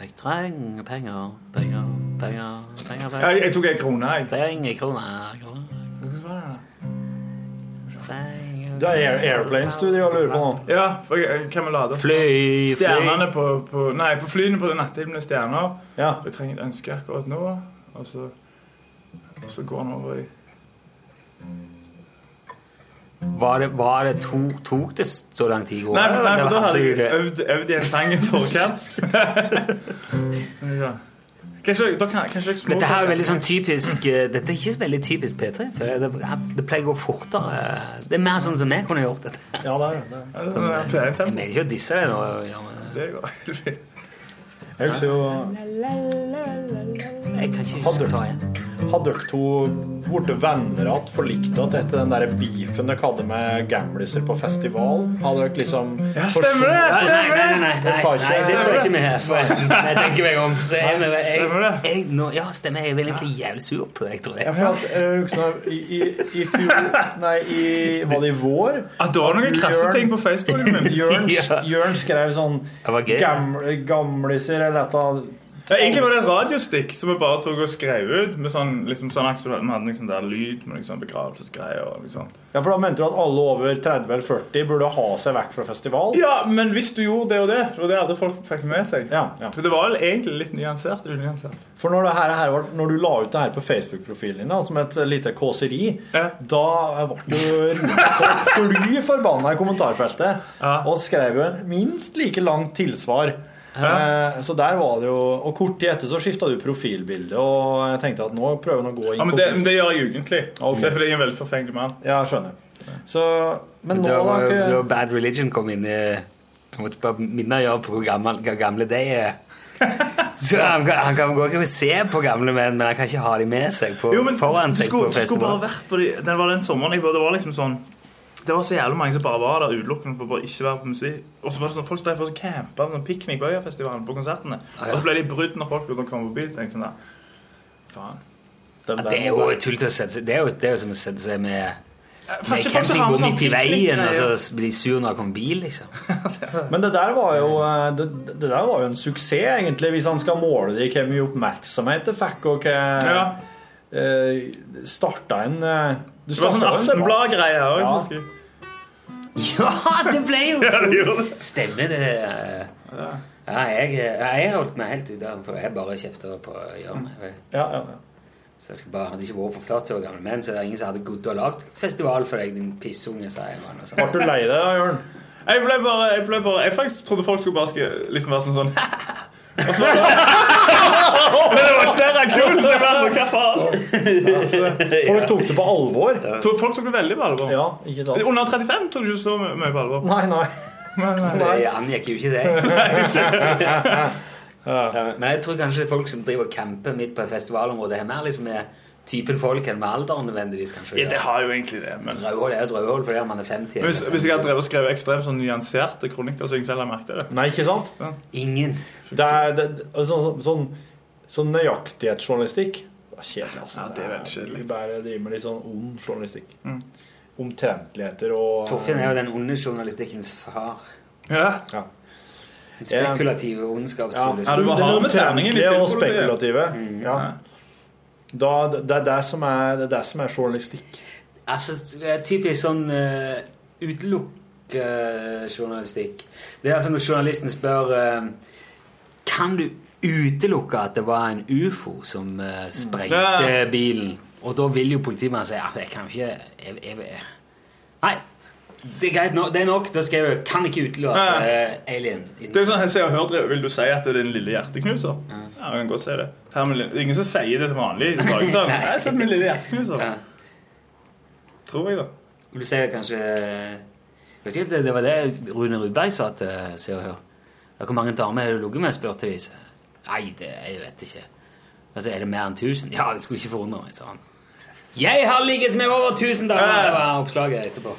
Speaker 3: Jeg trenger penger, penger, penger, penger.
Speaker 9: Ja,
Speaker 3: penger.
Speaker 9: jeg, jeg tok en krone, jeg.
Speaker 3: Trenger kroner, kroner,
Speaker 6: Det
Speaker 3: trenger
Speaker 6: er Air Airplanes du driver og lurer på nå.
Speaker 9: Ja, for jeg, eh, hvem vil ha det?
Speaker 3: Fly,
Speaker 9: Stjernene på, på Nei, på flyene på natthimmelens stjerner.
Speaker 6: Ja.
Speaker 9: Jeg trenger et ønske akkurat nå, og så, og så går han over i
Speaker 3: Var det, var det to, Tok det så lang tid i går?
Speaker 9: Nei, for, nei,
Speaker 3: eller
Speaker 9: for da hadde
Speaker 3: du
Speaker 9: jeg
Speaker 3: det?
Speaker 9: øvd, øvd i en sang i forkant. Ja. Kanskje da kan, kanskje jeg små-
Speaker 3: Dette her er veldig sånn typisk eh, Dette er ikke så veldig typisk P3. For det, det pleier å gå fortere. Det er mer sånn som jeg kunne gjort dette.
Speaker 6: Ja, det er det.
Speaker 9: Ja, det er en
Speaker 3: Jeg
Speaker 9: pleietempo.
Speaker 3: mener ikke å disse deg nå. Ja, men
Speaker 9: Det går helt fint.
Speaker 6: Jeg husker jo
Speaker 3: jeg kan ikke huske hva jeg
Speaker 6: Hadde dere to blitt venner igjen, forlikt igjen etter den der beefen dere hadde med gamliser på festival? Hadde dere liksom
Speaker 9: Ja, stemmer det!
Speaker 3: Nei, nei, nei, nei, nei, nei,
Speaker 6: Kanskje-
Speaker 3: nei det tror jeg ikke vi er. Forresten. Jeg tenker meg om. Så er vi, jeg,
Speaker 9: Stemmer
Speaker 3: jeg,
Speaker 9: det?
Speaker 3: nå, ja, stemmer. Jeg er vel egentlig jævlig sur på deg, tror
Speaker 6: Ja,
Speaker 3: jeg.
Speaker 6: for at, eh, Knarr, i, i, I fjor Nei, i, var det i vår?
Speaker 9: Ja, det var noen krasse
Speaker 6: Bjørn-
Speaker 9: ting på Facebooken min.
Speaker 6: Jørn,
Speaker 3: Ja.
Speaker 6: Jørn skrev sånn
Speaker 3: Det var gøy.
Speaker 6: gamle, Gamliser eller et eller annet.
Speaker 9: Ja, egentlig var det et radiostikk som vi bare tok og skrev ut. Med sånn, liksom, sånn aktuell, Vi hadde liksom der lyd med liksom, begravelsesgreier. og Liksom.
Speaker 6: Ja, for Da mente du at alle over 30 eller 40 burde ha seg vekk fra festival?
Speaker 9: Ja, men hvis du gjorde det og det, og det hadde folk fikk med seg
Speaker 6: Ja, ja.
Speaker 9: For Det var vel egentlig litt nyansert. eller unyansert.
Speaker 6: For når, det her, her, var- når du la ut det her på Facebook-profilen din da, som et lite kåseri,
Speaker 9: Ja.
Speaker 6: da ble du ropt så fly forbanna i kommentarfeltet
Speaker 9: Ja.
Speaker 6: og skrev jo en minst like langt tilsvar. Eh, så der var det jo Og kort tid etter så skifta du profilbilde, og jeg tenkte at nå prøver han å gå inn
Speaker 9: Ja, men det, men det gjør jeg ukentlig. Det er fordi jeg er en veldig forfengelig mann.
Speaker 6: Ja, skjønner. Så, men nå
Speaker 3: Da
Speaker 6: da,
Speaker 3: var jo da
Speaker 6: ikke,
Speaker 3: Bad Religion kom inn i Jeg måtte bare minne Jørn på hvor gammel, hva gamle de er. Så han, kan- han kan gå ikke og se på gamle menn, men han kan ikke ha dem med seg på,
Speaker 9: Jo, men
Speaker 3: foran
Speaker 9: du
Speaker 3: seg på
Speaker 9: skulle, du skulle
Speaker 3: festival.
Speaker 9: bare vært på de, den, var den sommeren jeg var, det var liksom sånn Det var så jævlig mange som bare var der utelukkende for å bare ikke være på musikk. Og så var det sånn, folk drev på sånn campa sånn piknik på Øyafestivalen på konsertene. Og så ble de brudd når folk begynte å komme forbi. tenkte jeg sånn der, Faen. den
Speaker 3: Det er jo tull til å sette seg Det er jo, det er jo som å sette seg med, med
Speaker 9: Kanskje folk som har
Speaker 3: campingbom
Speaker 9: med sånn
Speaker 3: midt i veien, altså. og
Speaker 9: piknikgreier.
Speaker 3: så blir de sur når det kommer bil, liksom.
Speaker 6: Men det der var jo eh, det, det der var jo en suksess, egentlig, hvis han skal måle det i hvor mye oppmerksomhet det fikk, og hva
Speaker 9: Ja. sånn
Speaker 6: eh, Starta en eh, Du
Speaker 9: Det var sånn
Speaker 6: starta en
Speaker 9: Aftenblad-greie òg.
Speaker 6: Ja.
Speaker 9: husker jeg.
Speaker 3: Ja, det ble jo
Speaker 9: Ja, det gjorde det.
Speaker 3: Stemmer det. eh. Ja, jeg, jeg holdt meg helt ute av for jeg bare kjefter på å gjøre
Speaker 9: Mm.
Speaker 3: meg.
Speaker 6: Ja, ja, ja.
Speaker 3: Så jeg skal bare, hadde ikke vært på 40 år gammel menn, så det er ingen som hadde gått og lagd festival for deg, din pissunge, sa jeg. mann, og sånn.
Speaker 6: Ble du lei deg, da, Jørn?
Speaker 9: Jeg ble bare, jeg ble bare Jeg faktisk trodde folk skulle bare skulle, liksom være sånn sånn Og så- Men det var ikke den reaksjonen! så jeg bare sånn, Hva faen?
Speaker 6: Folk tok altså, det på alvor?
Speaker 9: To- Folk tok det veldig på alvor.
Speaker 6: Ja, ikke sant?
Speaker 9: Under 35 tok det ikke så my- mye på alvor.
Speaker 6: Nei, nei.
Speaker 3: Det angikk jo ikke det. Men jeg tror kanskje folk som driver og camper midt på et festivalområde, har mer liksom med typen folk enn med alderen nødvendigvis, kanskje.
Speaker 9: Ja, det har jo egentlig det, men
Speaker 3: Rødhål er jo et rødhål fordi man er 50.
Speaker 9: Men hvis, hvis jeg hadde drevet og skrevet ekstremt sånn nyanserte kronikker, så jeg ikke selv hadde merket det.
Speaker 6: Nei, ikke sant?
Speaker 3: Ingen.
Speaker 6: Det er, det, altså, sånn, sånn, sånn nøyaktighetsjournalistikk det er kjedelig, altså.
Speaker 9: Ja, det er veldig kjedelig. Mm.
Speaker 6: Vi bare driver med litt sånn ond journalistikk. Omtrentligheter og
Speaker 3: Torfinn er jo den onde journalistikkens far.
Speaker 9: Ja.
Speaker 3: Den Spekulative ondskapsfulle
Speaker 9: Ja, du må
Speaker 6: Den
Speaker 9: ha med terningen i
Speaker 6: omtrentlige og
Speaker 9: filmpolitiet.
Speaker 6: spekulative.
Speaker 9: Mm.
Speaker 6: Ja. Da, det, er det, som er, det er det som er journalistikk.
Speaker 3: Altså, eh, typisk sånn uh, utelukk-journalistikk. det er altså når journalisten spør eh, Kan du utelukke at det var en ufo som eh, sprengte
Speaker 9: Ja.
Speaker 3: bilen? Og da vil jo politimannen si at jeg kan ikke jeg, jeg, jeg. Nei. Det er greit, nå, det er nok. Da skriver du 'kan ikke utelukke
Speaker 9: Ja.
Speaker 3: eh, alien'.
Speaker 9: Det er jo sånn, jeg ser og hører, Vil du si at det er din lille hjerteknuser? Ja, jeg kan godt si det. Her med, lille- det er ingen som sier det til vanlig. i dagligtalen.
Speaker 3: Nei.
Speaker 9: Jeg sier min lille hjerteknuser.
Speaker 3: Ja.
Speaker 9: Tror jeg, da.
Speaker 3: Vil du si det kanskje Jeg vet ikke, det, det var det Rune Rudberg sa til Se og Hør. Ja, Hvor mange damer har du ligget med? spurte de. Så, Nei, det jeg vet ikke. Altså, Er det mer enn 1000? Ja, det skulle ikke forundre meg, sa han. Jeg har ligget med over 1000 damer! Det var oppslaget etterpå.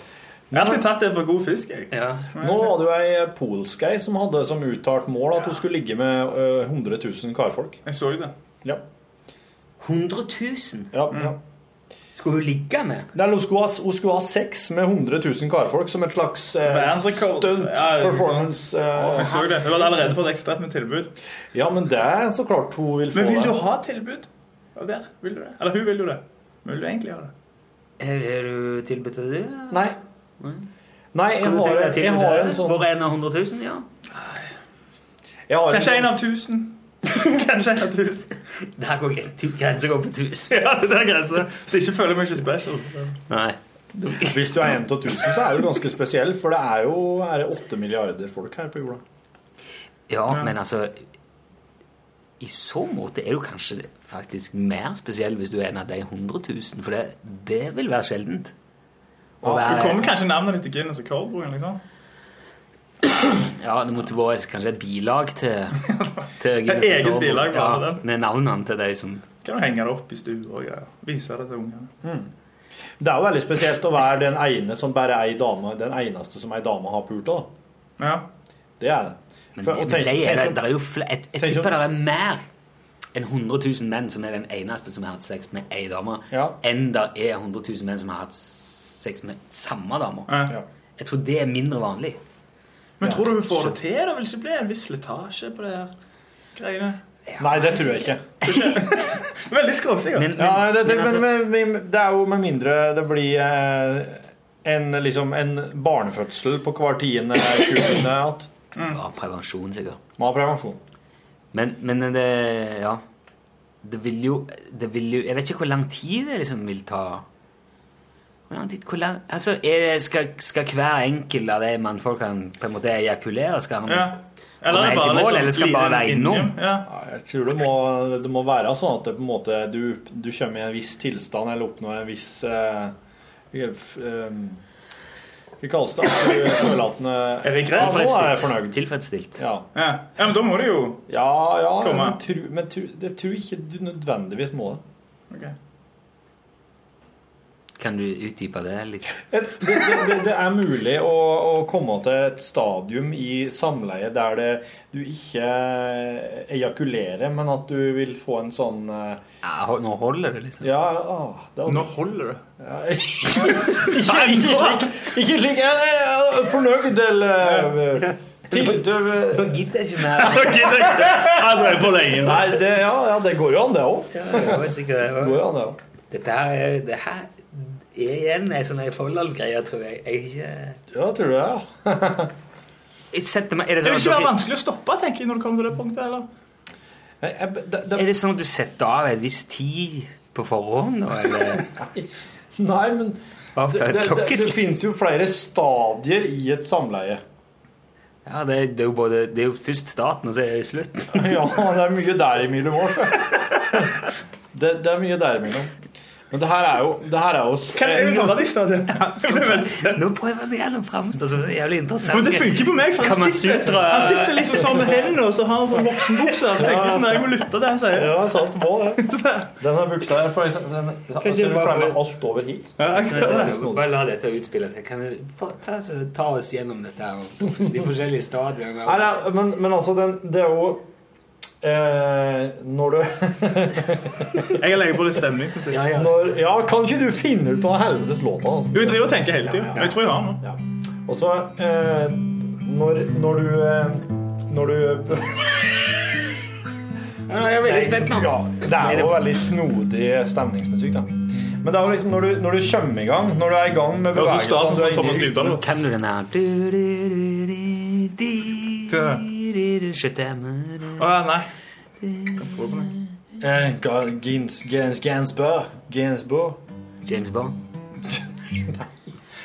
Speaker 9: Jeg har alltid tatt det for god fisk. jeg.
Speaker 3: Ja.
Speaker 6: Nå var det jo ei polsk ei som hadde som uttalt mål at hun skulle ligge med ø, 100 000 karfolk.
Speaker 9: Jeg så det.
Speaker 6: Ja.
Speaker 3: 100 000
Speaker 6: Ja,
Speaker 9: Mm.
Speaker 6: ja.
Speaker 3: skulle hun ligge med?
Speaker 6: Nei, hun, skulle ha, hun skulle ha sex med 100 000 karfolk som et slags eh,
Speaker 9: Verdensrekord.
Speaker 6: stunt
Speaker 9: Ja, det er
Speaker 6: performance. eh,
Speaker 9: Jeg så det. Hun hadde allerede fått ekstremt med tilbud.
Speaker 6: ja, men det er så klart hun vil få
Speaker 9: Men vil
Speaker 6: det.
Speaker 9: du ha tilbud? Ja, der vil du det. Eller hun vil jo det. Men vil du egentlig ha det?
Speaker 3: Har har du tilbudt deg det?
Speaker 6: Nei.
Speaker 9: Mm.
Speaker 6: Nei, jeg
Speaker 3: Kan du
Speaker 6: har,
Speaker 3: tenke deg
Speaker 6: jeg
Speaker 3: tilbudt
Speaker 6: har
Speaker 3: deg
Speaker 6: en
Speaker 3: det?
Speaker 6: sånn
Speaker 3: Hvor er en av 100 000? Ja.
Speaker 6: jeg har
Speaker 9: Kanskje en
Speaker 6: en,
Speaker 9: av tusen. Kanskje en av tusen.
Speaker 3: Der går gren- grensa går på 1000.
Speaker 9: Ja, det der grenser. Hvis jeg ikke føler jeg meg ikke special.
Speaker 3: Nei.
Speaker 6: Hvis du er en av 1000, så er du ganske spesiell, for det er jo er det 8 milliarder folk her på jorda.
Speaker 3: Ja, men altså I så måte er du kanskje faktisk mer spesiell hvis du er en av de 100 000, for det, det vil være sjeldent. Å
Speaker 9: Du kommer
Speaker 3: være,
Speaker 9: kanskje navnet ditt i Guinness og Coldbroen, liksom.
Speaker 3: ja, det måtte vært kanskje et bilag til, til Guinness
Speaker 9: Eget
Speaker 3: Rekordbok.
Speaker 9: bilag bare
Speaker 3: ja,
Speaker 9: til den.
Speaker 3: med navnene til de som
Speaker 9: Kan du henge det opp i stua og greier. Vise det til ungene.
Speaker 6: Det er jo veldig spesielt å være den ene som bare ei dame, den eneste som ei dame har pult av. da.
Speaker 9: Ja.
Speaker 6: Det er det.
Speaker 3: Men
Speaker 6: For-
Speaker 3: det,
Speaker 6: og
Speaker 3: det,
Speaker 6: tenk-
Speaker 3: det,
Speaker 6: tenk
Speaker 3: er,
Speaker 6: om-
Speaker 3: det er jo fl jeg, jeg
Speaker 6: tenk om-
Speaker 3: tipper det er mer enn 100 000 menn som er den eneste som har hatt sex med ei dame,
Speaker 6: Ja.
Speaker 3: enn det er 100 000 menn som har hatt sex med samme dame.
Speaker 9: Ja.
Speaker 6: Ja.
Speaker 3: Jeg tror det er mindre vanlig.
Speaker 9: Men tror du hun får det til? da? Vil det ikke bli en viss slitasje på det her greiene?
Speaker 6: Nei, det tror jeg ikke.
Speaker 9: Veldig skråsikker.
Speaker 3: Men, men,
Speaker 6: Ja, det, det,
Speaker 3: men altså,
Speaker 6: men, men, men det er jo med mindre det blir eh, en, liksom, en barnefødsel på hver tiende tjuende at
Speaker 9: Mm.
Speaker 3: ja, prevensjon, sikkert.
Speaker 6: man har prevensjon.
Speaker 3: Men, men det Ja. Det vil, jo, det vil jo Jeg vet ikke hvor lang tid det liksom vil ta. Hvor lang tid, hvor lang, altså, er det, skal, skal hver enkelt av de mannfolkene på en måte ejakulere? Skal han
Speaker 9: Ja.
Speaker 3: Kommer helt i mål,
Speaker 9: liksom
Speaker 3: eller skal
Speaker 9: glide
Speaker 3: bare være
Speaker 9: inn
Speaker 3: innom?
Speaker 9: hjem? Ja.
Speaker 6: Ja, Jeg tror det må, det må være sånn at det på en måte, du, du kommer i en viss tilstand eller oppnår en viss eh, hjelp, eh, Hva kalles det? At du føler at den
Speaker 9: Er vi
Speaker 6: Ja,
Speaker 9: greit?
Speaker 6: nå er jeg fornøyd.
Speaker 3: Tilfredsstilt.
Speaker 6: Ja,
Speaker 9: Ja. ja, men da må du jo
Speaker 6: ja, ja men,
Speaker 9: Kom her.
Speaker 6: tru, men tru, jeg tror ikke du nødvendigvis må det.
Speaker 9: Ok.
Speaker 3: Kan du utdype det litt?
Speaker 6: Et- Det, det, det, det er mulig å, å komme til et stadium i samleie der det, du ikke ejakulerer, men at du vil få en sånn
Speaker 3: Nå holder det, liksom.
Speaker 6: Ja, ah, det
Speaker 9: Nå holder det.
Speaker 6: ja, ikke, ikke slik. Ikke slik. Jeg jeg er fornøyd, eller eh, til,
Speaker 3: Nå gidder jeg ikke mer.
Speaker 9: Jeg drev for lenge.
Speaker 6: Nei, det, ja, ja, det går jo an, det òg.
Speaker 3: Ja, det var sikkert det
Speaker 6: Det
Speaker 3: var.
Speaker 6: går jo an, det òg.
Speaker 3: Dette her er, det her er igjen en sånn her Folldalsgreie, tror jeg. Jeg, er ikke,
Speaker 6: Ja, tror du det? ja.
Speaker 3: jeg setter meg, er, det
Speaker 9: Det
Speaker 3: sånn
Speaker 9: vil
Speaker 3: at
Speaker 9: ikke være
Speaker 3: dere,
Speaker 9: vanskelig å stoppe, tenker jeg, når du kommer til det punktet, eller?
Speaker 6: Nei, jeg- det- det-
Speaker 3: er det sånn at du setter av en viss tid på forhånd, da? Eller
Speaker 6: Nei, men det,
Speaker 3: avtaler
Speaker 6: det, det, det
Speaker 3: klokkeslett?
Speaker 6: finnes jo flere stadier i et samleie.
Speaker 3: Ja, det, det, er jo både, det er jo først starten, og så er det slutten.
Speaker 6: Ja, det er mye der imellom òg. Det, det er mye der imellom. Men det her er jo, det her er jo
Speaker 3: Skal vi- Nå prøver vi igjen å framstå som en jævlig interessant.
Speaker 9: Men det funker på meg, for
Speaker 3: Kan man
Speaker 9: han sitter,
Speaker 3: sutra?
Speaker 9: han sitter liksom sånn med hendene, og så har han sånn voksenbukse. og Så tenker jeg sånn, jeg må lytte til det han sier.
Speaker 6: Ja, sant, må det. Denne buksa her for eksempel, den, altså,
Speaker 3: jeg
Speaker 6: Du
Speaker 3: bare-
Speaker 6: pleier med alt over hit.
Speaker 3: Bare la dette utspille seg. Kan vi få, ta, så- ta oss gjennom dette her, og de forskjellige stadiene?
Speaker 6: Nei,
Speaker 3: og-
Speaker 6: nei, men, men altså, den, det er jo eh, Når du
Speaker 9: Jeg legger på litt stemning. for å si.
Speaker 3: Ja, ja.
Speaker 6: når, Ja, kan ikke du finne ut av helvetes låta? Altså?
Speaker 9: Hun driver og tenker hele tiden. Jeg tror jeg har noe.
Speaker 6: Ja. Og så eh, når, når du eh, Når du
Speaker 3: Ja, Jeg er veldig spent nå.
Speaker 6: Ja, det er jo veldig snodig stemningsmusikk, da. Men det er jo liksom når du, når du kommer i gang, når du er i gang med
Speaker 9: Det var så
Speaker 6: bevegelsene
Speaker 9: starten
Speaker 6: du er
Speaker 9: som Thomas
Speaker 6: inne i-
Speaker 9: Dybdahl. vet du.
Speaker 3: Kan du den her Shit, jeg må-
Speaker 9: Å, ja, nei.
Speaker 6: Eh, Carl Gins, Gens, Gansbø. Gansbø.
Speaker 3: James Bond.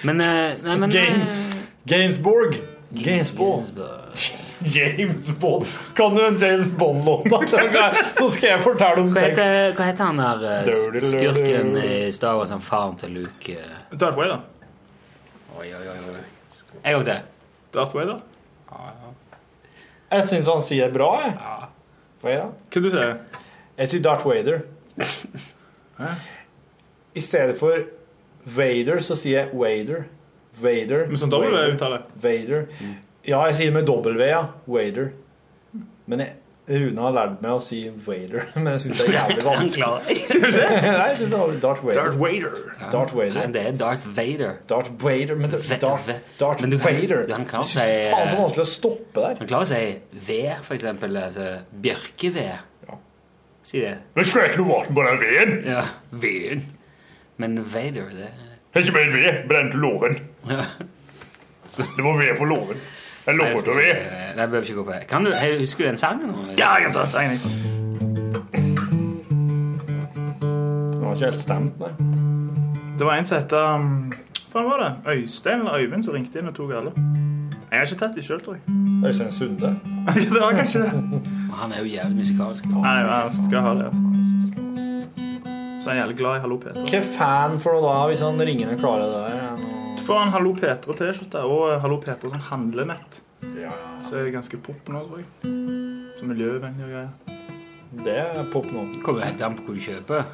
Speaker 3: Men eh, Nei, men
Speaker 6: Jane.
Speaker 3: eh,
Speaker 6: Gainsborg. Gainsborg.
Speaker 3: James Bond.
Speaker 6: James Bond. Kan du en James Bond-låt? Så skal jeg fortelle om
Speaker 3: Hva
Speaker 6: sex.
Speaker 3: heter, hva heter han der eh,
Speaker 6: Dirty, dirty,
Speaker 3: skurken
Speaker 6: dirty.
Speaker 3: i Star Wars, han faren til Luke? eh?
Speaker 9: Darth Vader.
Speaker 3: Oi, oi, oi. oi. En gang til.
Speaker 9: Darth Vader.
Speaker 6: Jeg syns han sier bra, jeg. Hva er det?
Speaker 9: Hva du sier
Speaker 6: Jeg sier Darth Vader. I stedet for Vader, så sier jeg Wader. Vader.
Speaker 9: Med sånn W
Speaker 6: Wader,
Speaker 9: uttale.
Speaker 6: Vader. Ja, jeg sier det med W, ja. Wader. Men jeg, Rune har lært meg å si Vader, men jeg syns det er jævlig vanskelig. Nei, jeg synes det var Darth Vader.
Speaker 9: Vader.
Speaker 6: Darth
Speaker 3: Nei,
Speaker 6: Vader.
Speaker 3: det er Darth Vader.
Speaker 6: Darth Vader. Men det,
Speaker 3: Ve-
Speaker 6: Darth,
Speaker 3: ve-
Speaker 6: Darth
Speaker 3: men du kan-
Speaker 6: Vader.
Speaker 3: du kan
Speaker 6: Jeg
Speaker 3: klart
Speaker 6: syns det
Speaker 3: si- eh,
Speaker 6: er faen så vanskelig å stoppe der.
Speaker 3: Han klarer å si ved, for eksempel. Altså, bjørkeved.
Speaker 6: Ja.
Speaker 3: Si det.
Speaker 6: Men skal jeg ikke noe vann på den veden?
Speaker 3: Ja, veden. Men Vader, det
Speaker 6: Jeg er ikke mer ved. Brente låven.
Speaker 3: Ja.
Speaker 6: Det var ved på låven. Jeg
Speaker 3: Nei, jeg skal ikke- Nei, jeg behøver ikke gå på det. Kan du, hey, husker du den sangen? nå?
Speaker 9: Ja, jeg kan ta en sang. jeg.
Speaker 6: Det var ikke helt stemt, nei.
Speaker 9: Det var en som het um, Hva faen var det? Øystein eller Øyvind som ringte inn og tok alle. Jeg har ikke tatt de sjøl, tror jeg.
Speaker 6: Øystein Sunde.
Speaker 9: det var kanskje det.
Speaker 3: Han er jo jævlig musikalsk.
Speaker 9: Nei, jeg skal ha det. altså. Så er jeg jævlig glad i Hallo Peter.
Speaker 6: Hva fan for noe da, hvis han ringende klarer det der?
Speaker 9: Du får en Hallo Petra-T-skjorte og eh, Hallo Petra som handlenett. Så er det ganske pop nå, tror jeg. Så miljøvennlig og greier.
Speaker 6: Det er pop nå.
Speaker 3: Kommer jo helt an på hvor du kjøper.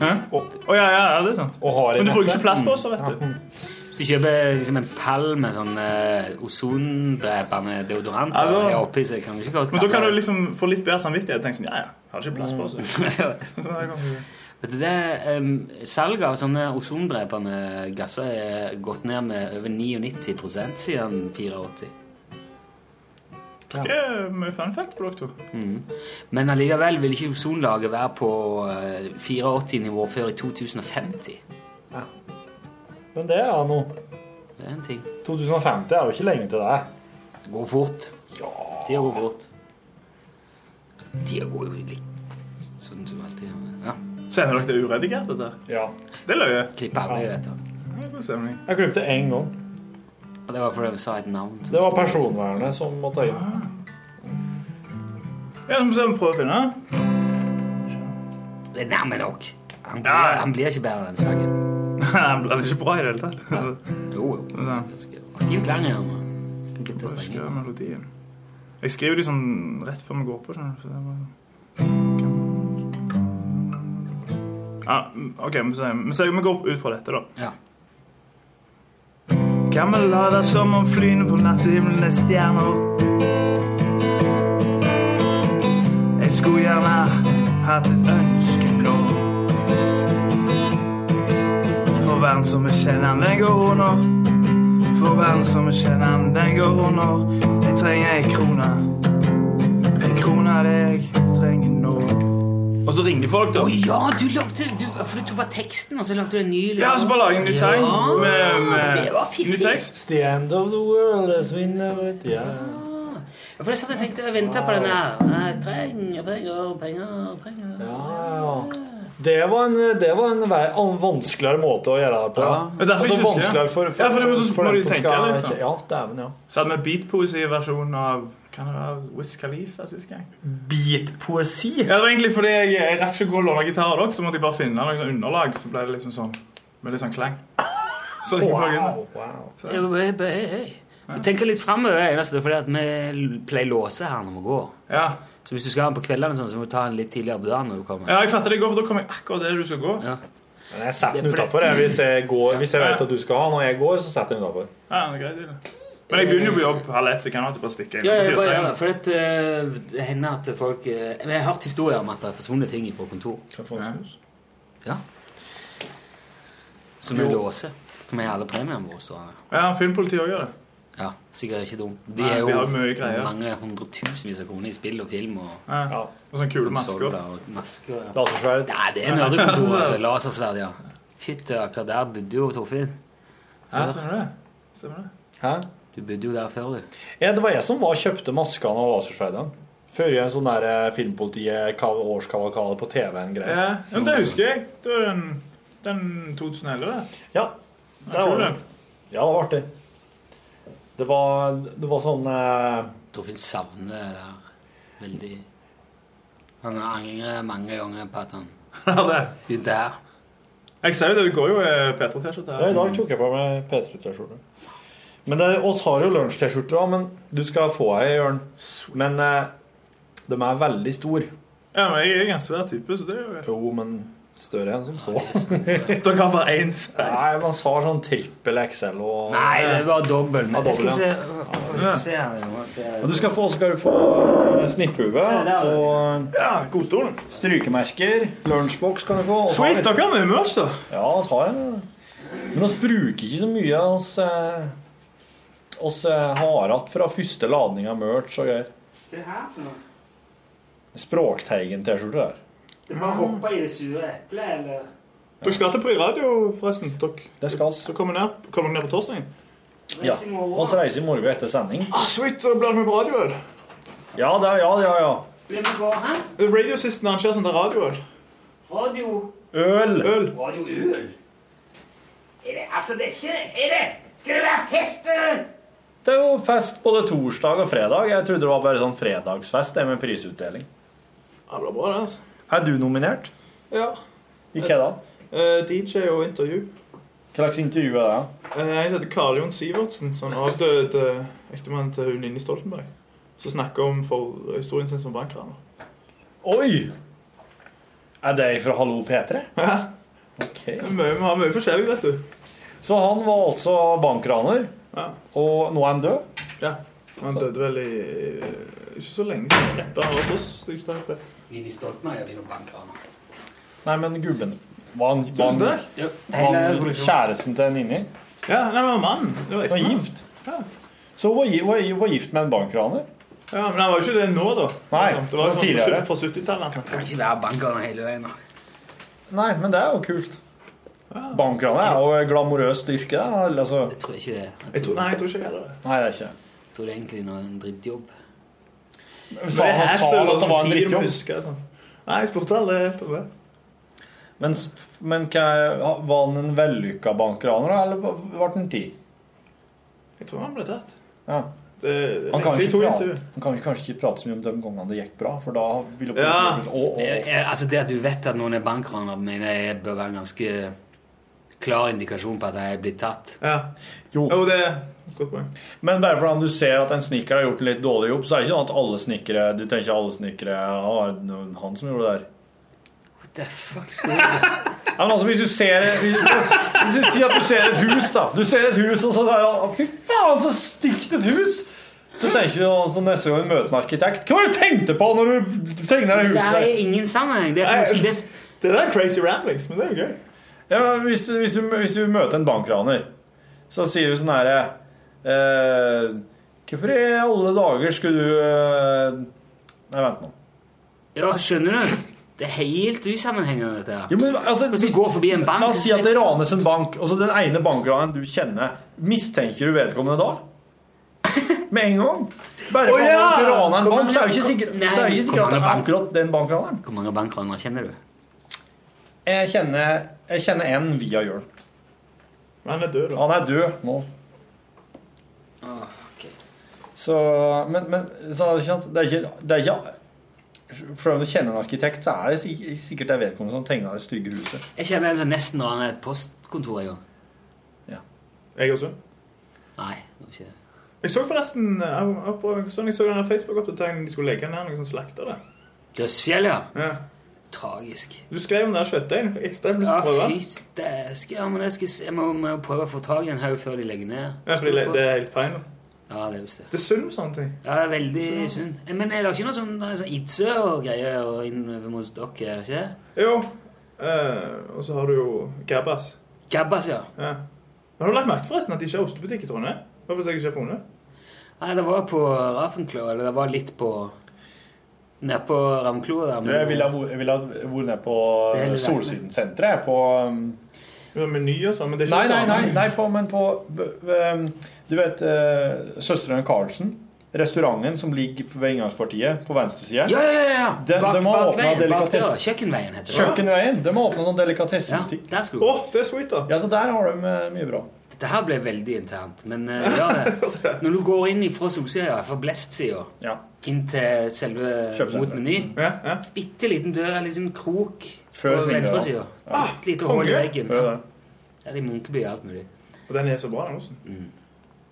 Speaker 9: Hæ? Å ja, ja, ja, det er sant.
Speaker 6: Og har i
Speaker 9: Men du bruker
Speaker 6: nettet.
Speaker 9: ikke plass på oss, vet du.
Speaker 3: Hvis du kjøper liksom en pall med sånn eh, ozondrepende deodorant
Speaker 9: Ja, da-
Speaker 3: og er oppi, så kan du ikke godt
Speaker 9: Men da kan
Speaker 3: kalle
Speaker 9: du
Speaker 3: det-
Speaker 9: liksom få litt bedre samvittighet. Tenk sånn, ja, ja, jeg har ikke plass på oss. Så der kan du-
Speaker 3: Vet du det, em, Salget av sånne ozondrepende gasser er gått ned med over 99 siden 84.
Speaker 9: Det er mye fun fact på dere to.
Speaker 3: Men allikevel vil ikke ozonlaget være på 84-nivå før i 2050.
Speaker 6: Men det er noe.
Speaker 3: Det er en ting.
Speaker 6: 2050 er jo ikke lenge til det.
Speaker 3: Det går fort. Tida går fort. Tida går jo litt sånn som alltid. gjør. Ja.
Speaker 9: Sender dere det uredigert, dette?
Speaker 6: Ja.
Speaker 9: Det er løye.
Speaker 3: Klipp aldri dette.
Speaker 9: Ja, god stemning.
Speaker 6: Jeg klippte én gang.
Speaker 3: Og det var fordi jeg sa et navn. som-
Speaker 6: Det var personvernet som måtte inn.
Speaker 9: Ja, så må vi se om vi prøver å finne.
Speaker 3: Det er nærme nok. Han blir,
Speaker 9: Ja.
Speaker 3: han blir ikke bedre enn sangen.
Speaker 9: Han ble ikke bra i det hele tatt.
Speaker 3: Jo, jo.
Speaker 9: Ja.
Speaker 3: Gi klang i den. Kan bytte
Speaker 9: Jeg skriver
Speaker 3: strenger.
Speaker 9: melodien. Jeg skriver de sånn rett før vi går på, skjønner du. Så det er bare... Ja, OK, vi, ser, vi, ser, vi går ut fra dette, da.
Speaker 3: Ja.
Speaker 9: Kan vi la være som om flyene på nattehimmelen er stjerner? Jeg skulle gjerne hatt et ønske nå. For verden som vi kjenner, den går under. For verden som vi kjenner, den går under. Jeg trenger ei krone. Ei krone er det jeg trenger nå. Og så ringer folk, da.
Speaker 3: Å ja, du lagde du, For du tok bare teksten, og så lagde du en ny låt.
Speaker 9: Ja, så bare lage en ny sang
Speaker 3: Ja,
Speaker 9: med, med
Speaker 3: det var fiffig.
Speaker 9: ny tekst.
Speaker 6: The end of the world as we know it, yeah.
Speaker 3: Ja, For sånn jeg satt og tenkte og venta på den her. Jeg trenger penger, penger, penger.
Speaker 6: Det var en, det var en vei, en vanskeligere måte å gjøre det på.
Speaker 9: Ja, derfor
Speaker 6: Altså
Speaker 9: ikke husker jeg.
Speaker 6: vanskeligere for, for,
Speaker 9: Ja, for det må du- må du
Speaker 6: som
Speaker 9: tenke,
Speaker 6: skal-
Speaker 9: liksom.
Speaker 6: Ja, dæven, ja.
Speaker 9: Så hadde vi beatpoesiversjon av kan det være Wiz Khalifa sist gang?
Speaker 6: Beatpoesi?
Speaker 9: Ja, det var egentlig fordi jeg, jeg rakk ikke å gå og låne gitar da, så måtte jeg bare finne noe sånn underlag. Så ble det liksom sånn med litt sånn klang. Så jeg fikk folk inn. Så-
Speaker 3: Ja, hei, hei, hei. Vi tenker litt framover, fordi at vi l- pleier låse her når vi går.
Speaker 9: Ja.
Speaker 3: Så hvis du skal ha den på kveldene, og sånn, så må du ta den litt tidligere på dagen. når du kommer.
Speaker 9: ja, jeg fatter det i går, for da kommer jeg akkurat der du skal gå.
Speaker 3: Ja.
Speaker 6: Men jeg setter den utafor hvis, jeg går- hvis jeg vet at du skal ha. Når jeg går, så setter jeg den utafor.
Speaker 9: Ja, det er greit, det. Men jeg begynner jo på jobb halv ett, så jeg kan alltid bare stikke inn.
Speaker 3: Ja,
Speaker 9: på
Speaker 3: ja, bare,
Speaker 9: tirsdagen.
Speaker 3: ja, for at, eh, det hender at folk eh, men Jeg har hørt historier om at det er forsvunnet ting fra kontor Ja. som vi
Speaker 9: Jo.
Speaker 3: låser. For vi har alle premiene våre stående.
Speaker 9: Ja, filmpolitiet også gjør det.
Speaker 3: Ja, sikkert ikke dumt. De
Speaker 9: Nei,
Speaker 3: er
Speaker 9: de
Speaker 3: jo
Speaker 9: har mye greier.
Speaker 3: mange hundretusenvis av kroner i spill og film. og...
Speaker 9: Ja. Og sånne
Speaker 3: Sånn
Speaker 9: kule masker.
Speaker 3: Solda og masker, ja.
Speaker 6: Lasersverd.
Speaker 3: Nei, det er nerdekontor, altså. Lasersverd, ja. Fytti akkurat der bodde jo Torfinn.
Speaker 9: Ja, stemmer det. Stemmer det.
Speaker 6: Hæ?
Speaker 3: Du bodde jo der før, du.
Speaker 6: Ja, det var jeg som var kjøpte maskene og lasersverdene. Før jeg en sånn der eh, Filmpolitiet kav- årskavalkade på TV-en-greie.
Speaker 9: Ja, ja, men det husker jeg. Det var den, den 2011.
Speaker 6: Ja, det var det. Ja, det var artig. Det var, det var sånn eh,
Speaker 3: Torfinn savner det der veldig. Han angrer mange ganger på at han
Speaker 9: Ja, det.
Speaker 3: er der.
Speaker 9: Jeg ser jo det, det går jo eh, P3-T-skjorte
Speaker 6: Ja, I
Speaker 9: her.
Speaker 6: dag tok jeg på meg P3-T-skjorte. Men det, oss har jo lunsj-T-skjorter òg, men du skal få ei, Jørn. Men eh, de er veldig store.
Speaker 9: Ja, men jeg er en svær type, så det er jo
Speaker 6: Jo, men større enn som så.
Speaker 9: Dere har bare én sveis.
Speaker 6: Nei, man har sånn trippel XL og
Speaker 3: Nei, det var dobbel. Men jeg skal
Speaker 6: dobbel,
Speaker 3: se Hva ser jeg nå? Ser jeg-
Speaker 6: Og Du skal få, skal du få eh, snipphue
Speaker 3: der, du.
Speaker 6: og
Speaker 9: Ja, godstolen.
Speaker 6: strykemerker. Lunsjboks kan du få. og så har
Speaker 9: Sweet, dere har mye merch, da.
Speaker 6: vi- Ja, vi har en. Men vi bruker ikke så mye av oss eh, oss eh, har att fra første ladning av merch og greier.
Speaker 3: Det her for noe?
Speaker 6: Språkteigen-T-skjorte der.
Speaker 3: Du bare hopper i det sure eplet, eller?
Speaker 9: Dere skal alltid på i radio, forresten. Dere,
Speaker 6: Det skal oss.
Speaker 9: dere kommer, ned, kommer dere ned på torsdagen.
Speaker 6: Ja. Og så reiser i morgen etter sending.
Speaker 9: Ah, sweet, da blir det med på radioøl.
Speaker 6: Ja, det er, ja, ja, ja.
Speaker 3: Blir vi gå, hæ?
Speaker 9: Eh, Radiosisten arrangerer sånn der radioøl.
Speaker 3: Radio.
Speaker 6: Øl!
Speaker 9: Øl.
Speaker 3: Radio Øl. Er det Altså, det er ikke Er det Skal det være fest? eh?
Speaker 6: Det er jo fest både torsdag og fredag. Jeg trodde det var bare sånn fredagsfest det med prisutdeling.
Speaker 9: Ja, det blir bra, det. altså.
Speaker 6: Er du nominert?
Speaker 9: Ja.
Speaker 6: Ikke da.
Speaker 9: Eh, DJ og intervju.
Speaker 6: Hva slags intervju er det?
Speaker 9: Eh, Jeg heter Karl Jon Sivertsen, sånn avdød eh, ektemann til hun Ninni Stoltenberg. Som snakker om for historien sin som bankraner.
Speaker 6: Oi! Er det fra Hallo P3? Ok.
Speaker 9: Det er mye- Vi har mye forskjellig, vet du.
Speaker 6: Så han var altså bankraner,
Speaker 9: Ja.
Speaker 6: og nå er han død?
Speaker 9: ja. Han døde vel i ikke så lenge siden. Rett da han var hos oss. så jeg ikke tar feil.
Speaker 3: Mini Stoltenberg er blitt noen bankraner.
Speaker 6: Nei, men gubben Var han, var
Speaker 9: Tusen
Speaker 6: han,
Speaker 9: takk.
Speaker 3: Ja,
Speaker 6: var
Speaker 3: hele
Speaker 6: han
Speaker 3: produksjonen.
Speaker 6: kjæresten til Nini?
Speaker 9: Ja, nei, men mannen. Det var
Speaker 6: Han var
Speaker 9: ektemann.
Speaker 6: gift? Så hun var, gi- var, var gift med en bankraner?
Speaker 9: Ja, men han var jo ikke det nå, da.
Speaker 6: Nei,
Speaker 9: det var sånn
Speaker 6: det var
Speaker 9: jo
Speaker 6: tidligere.
Speaker 9: tidligere. Fra 70-tallet. han snakket om.
Speaker 3: Kan ikke være bankraner hele veien. da.
Speaker 6: Nei, men det er jo kult. Bankraner er jo et glamorøst yrke. da, eller Altså,
Speaker 3: Jeg tror ikke det.
Speaker 9: Jeg tror, nei, jeg tror ikke jeg er det.
Speaker 6: nei, det er ikke det.
Speaker 3: Jeg tror det er egentlig noe en drittjobb.
Speaker 6: Sa
Speaker 9: Men det
Speaker 6: han sa
Speaker 9: er
Speaker 6: at
Speaker 9: hassle og
Speaker 6: det var en
Speaker 9: sånn tid du må
Speaker 6: drittjobb.
Speaker 9: huske. Sånn. Nei, jeg spurte aldri helt om det.
Speaker 6: Men, s- men hva, var han en vellykka bankraner, da, eller var- var han ti?
Speaker 9: Jeg tror han ble tatt.
Speaker 6: Ja.
Speaker 9: Det, det,
Speaker 6: Han kan, jo
Speaker 9: jeg
Speaker 6: ikke
Speaker 9: tok
Speaker 6: prate,
Speaker 9: intervju.
Speaker 6: han kan jo kanskje ikke prate så mye om de gangene det gikk bra, for da ville
Speaker 9: Ja.
Speaker 6: politiet å, å,
Speaker 3: Eh, eh, Altså, Det at du vet at noen er bankraner, mener jeg bør være en ganske klar indikasjon på at de er blitt tatt.
Speaker 9: Ja.
Speaker 6: Jo,
Speaker 9: Jo, det er et godt poeng.
Speaker 6: men bare fordi du ser at en snekker har gjort en litt dårlig jobb, så er det ikke sånn at alle snekkere Du tenker alle snekkere ja, det var han som gjorde det der.
Speaker 3: What the fuck skal jeg
Speaker 6: Ja, men altså, hvis du ser hvis du sier at du ser et hus, da. Du ser et hus, og så er det Fy faen, så stygt et hus! Så tenker du altså, neste gang du møter en arkitekt Hva var det du tenkte på når du tegna det
Speaker 3: Det
Speaker 6: huset?
Speaker 3: her er ingen sammenheng. Det er som, det er,
Speaker 6: Det der er crazy ramblings, men det er jo gøy. Ja, men hvis, du- hvis, du, hvis du møter en bankraner, så sier du sånn herre eh, Hvorfor i alle dager skulle du eh, Nei, vent nå.
Speaker 3: ja, skjønner du? Det er helt usammenhengende, dette her.
Speaker 6: Jo, men, altså,
Speaker 3: Hvis du går forbi en bank liksom?
Speaker 6: La oss si at det ranes en bank, og så den ene bankraneren du kjenner, mistenker du vedkommende da? Med en gang? Bare
Speaker 3: Å,
Speaker 6: fordi
Speaker 3: ja!
Speaker 6: du raner en
Speaker 3: Hvor
Speaker 6: bank, så er
Speaker 3: mange-
Speaker 6: det ikke sikkert
Speaker 3: Nei,
Speaker 6: så er det ikke
Speaker 3: hvor
Speaker 6: sikkert at
Speaker 3: mange
Speaker 6: det er
Speaker 3: bank-
Speaker 6: akkurat den bankraneren.
Speaker 3: Hvor mange bankranere kjenner du?
Speaker 6: Jeg kjenner, jeg kjenner en via Jørn. Men han er død, da. Han er død nå.
Speaker 3: Ah,
Speaker 6: Så, men, men så, ikke sant? det er ikke, det er ikke For om du kjenner en arkitekt, så er det sik- sikkert det er vedkommende som tegna det stygge huset.
Speaker 3: Jeg kjenner en som nesten raner et postkontor en gang.
Speaker 9: Jeg også.
Speaker 3: Nei, det var ikke det.
Speaker 9: Jeg så forresten jeg, var på, sånn, jeg så den der Facebook-oppdateringen de skulle legge ned noen sånne slakter der.
Speaker 3: Dødsfjell, ja.
Speaker 9: Ja.
Speaker 3: Tragisk.
Speaker 9: Du skrev om den kjøttdeigen. Jeg stemte
Speaker 3: Ja,
Speaker 9: på prøve.
Speaker 3: fy stæske. Ja, men jeg, skal, se- jeg må, må prøve å få tak i en haug før de legger ned.
Speaker 9: Ja, for det, det er helt feil. da.
Speaker 3: Ja, det er visst det.
Speaker 9: Det er synd med sånne ting.
Speaker 3: Ja, det er veldig synd. Eh, Men er det ikke noe sånn, sånn Idsø og greier og innover mot dere? er det ikke?
Speaker 9: Jo. Eh, og så har du jo Gabbas.
Speaker 3: Gabbas, ja.
Speaker 9: ja. Men Har du lagt merke til forresten at de ikke har ostebutikk i Trondheim? Hvorfor har jeg ikke funnet det?
Speaker 3: Nei, det var på Ravenclaw, eller det var litt på Nede på Ramkloa der.
Speaker 6: Jeg ville ha vært nede på
Speaker 3: Det er litt verdt det.
Speaker 6: Solsiden-senteret. På um,
Speaker 9: Meny og sånn, men det er
Speaker 6: Nei,
Speaker 9: ikke
Speaker 6: nei,
Speaker 9: det
Speaker 6: nei,
Speaker 9: samme.
Speaker 6: nei på, men på b- b- Du vet eh, Søstrene Karlsen? Restauranten som ligger på- ved inngangspartiet på venstre side?
Speaker 3: Ja, ja, ja! ja.
Speaker 6: De,
Speaker 3: Bak-
Speaker 6: de har åpna
Speaker 3: bakveien, bakdøra.
Speaker 6: delikatesse...
Speaker 3: Kjøkkenveien heter det.
Speaker 6: Kjøkkenveien. De har åpna sånn delikatessebutikk.
Speaker 3: Ja, Åh,
Speaker 9: det er sweet, da.
Speaker 6: Ja, så der har de eh, mye bra.
Speaker 3: Dette her ble veldig internt, men eh, ja, det. når du går inn fra solsida, fra blest-sida, inn til selve
Speaker 6: Kjøpesenteret.
Speaker 3: mot meny Bitte liten dør, en liten krok
Speaker 6: Før
Speaker 3: på
Speaker 6: svingdøra.
Speaker 3: venstresida.
Speaker 6: Ja. Ah,
Speaker 3: Et lite hull i
Speaker 9: Konge.
Speaker 3: veggen.
Speaker 9: Før
Speaker 3: Ja.
Speaker 9: det.
Speaker 3: Ja, det er i Munkeby og alt mulig.
Speaker 9: Og den er så bra, den osten.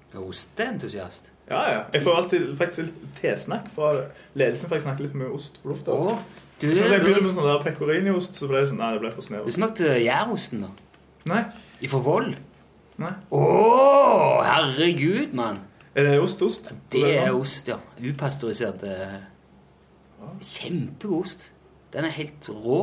Speaker 3: Jeg er Osteentusiast.
Speaker 9: Ja, ja. Jeg får alltid faktisk litt tesnakk fra ledelsen, for jeg snakker litt for mye ost på lufta.
Speaker 3: Åh, du-
Speaker 9: så jeg begynte
Speaker 3: du-
Speaker 9: med sånn der pecorinioost, så ble det sånn Nei, det ble for
Speaker 3: Du
Speaker 9: snever.
Speaker 3: smakte gjærosten, da? E
Speaker 9: Nei.
Speaker 3: Ifra Voll?
Speaker 9: Nei.
Speaker 3: Å, Oh, herregud, mann!
Speaker 9: Er det sånn? ost-ost?
Speaker 3: Det er ost, ja. Upasteurisert. eh, Kjempegod ost. Den er helt rå.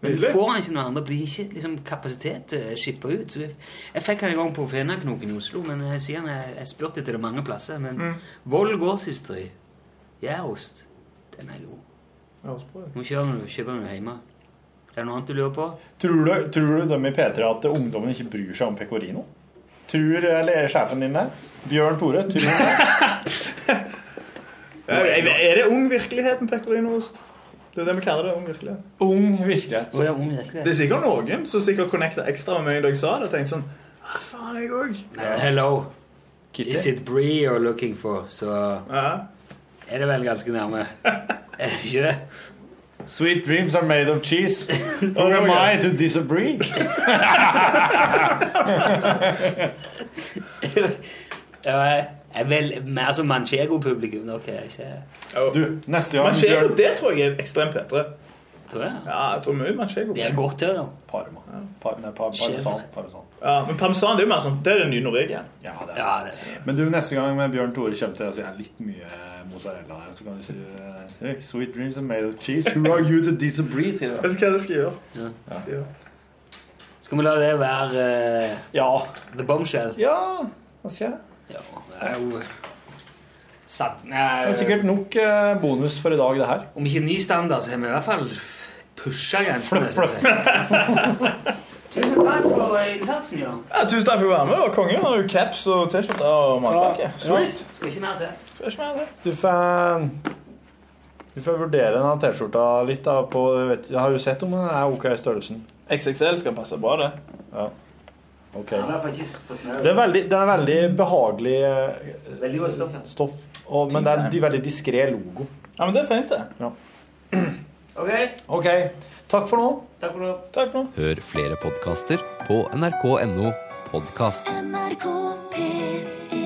Speaker 3: Men du
Speaker 9: Nydelig.
Speaker 3: får den ikke noe annet. Det blir ikke liksom, kapasitet til å shippe ut. Så jeg, jeg fikk den en gang på Fenaknoken i Oslo, men øh, jeg sier den, jeg, jeg spurte etter det mange plasser. Men
Speaker 9: Mm.
Speaker 3: Voll gårdsysteri, gjærost, den er god.
Speaker 9: Ja, ostbrød.
Speaker 3: Må kjøre når du kjøper den hjemme. Er det noe annet du lurer på?
Speaker 6: Tror du, tror du dem i P3 at ungdommen ikke bryr seg om pecorino? Tror eller er sjefen din der? Bjørn Tore? Tror du det?
Speaker 9: Ja, Er er det ung virkelighet med pecorino-ost? Det er det vi kaller det. ung virkelighet.
Speaker 6: Ung virkelighet.
Speaker 3: Å, ja, ung virkelighet.
Speaker 9: Det er sikkert noen som sikkert connecta ekstra med meg da jeg sa det. og tenkte sånn ah, faen, jeg òg.
Speaker 3: Eh, hello. Is it Bree you're looking for? Så eh, er det vel ganske nærme. Er det ikke det?
Speaker 6: Sweet dreams are made of cheese. Who
Speaker 3: Oh,
Speaker 6: am
Speaker 3: yeah.
Speaker 6: I to disagree?
Speaker 3: Ja, jeg er vel mer som manchego-publikum. Dere er ikke
Speaker 6: Du, neste gang
Speaker 9: Manchego,
Speaker 6: Bjørn-
Speaker 9: det tror jeg er ekstremt P3.
Speaker 3: Tror jeg.
Speaker 9: Ja, jeg tror mye manchego.
Speaker 3: Det er godt, det, da.
Speaker 6: Parma. Par, nei, par,
Speaker 9: Sjef.
Speaker 6: parmesan. parmesan.
Speaker 9: Ja, men parmesan det er jo mer sånn Det er det nye Norvegia.
Speaker 6: Ja, det er. Men du, neste gang med Bjørn Tore kommer til å si litt mye mozzarella her, så kan du si eh, Sweet dreams are made of cheese. Who are you to disagree? sier du.
Speaker 9: Vet du hva du skal gjøre?
Speaker 3: Ja.
Speaker 9: Skal gjøre.
Speaker 3: Skal vi la det være eh, The Bombshell?
Speaker 6: Ja, hva skjer?
Speaker 3: Ja, det er jo eh, Satt,
Speaker 6: Det er sikkert nok eh, bonus for i dag, det her.
Speaker 3: Om ikke ny standard, så har vi i hvert fall pusha grensene.
Speaker 6: Fluff,
Speaker 3: synes jeg. Tusen takk for innsatsen, Jan.
Speaker 9: Ja, tusen takk for å være med. Det var konge. Har jo caps og T-skjorte og matpakke. Sweet.
Speaker 3: Skal ikke mer til.
Speaker 9: Skal ikke mer til.
Speaker 6: Du får Du får vurdere den T-skjorta litt. da på, vet, Har du sett om den er OK i størrelsen?
Speaker 9: XXL skal passe bra, det.
Speaker 6: Ja. Ok.
Speaker 3: Ja, men jeg får ikke på snø.
Speaker 6: Det er veldig, det er veldig behagelig eh,
Speaker 3: Veldig godt stoff, ja.
Speaker 6: stoff, og, men det er en veldig diskré logo.
Speaker 9: Ja, men det er fint, det.
Speaker 6: Ja.
Speaker 3: Ok.
Speaker 6: OK. Takk for nå.
Speaker 3: Takk for nå.
Speaker 9: Takk for nå.
Speaker 10: Hør flere podkaster på nrk.no podkast.
Speaker 11: NRK P1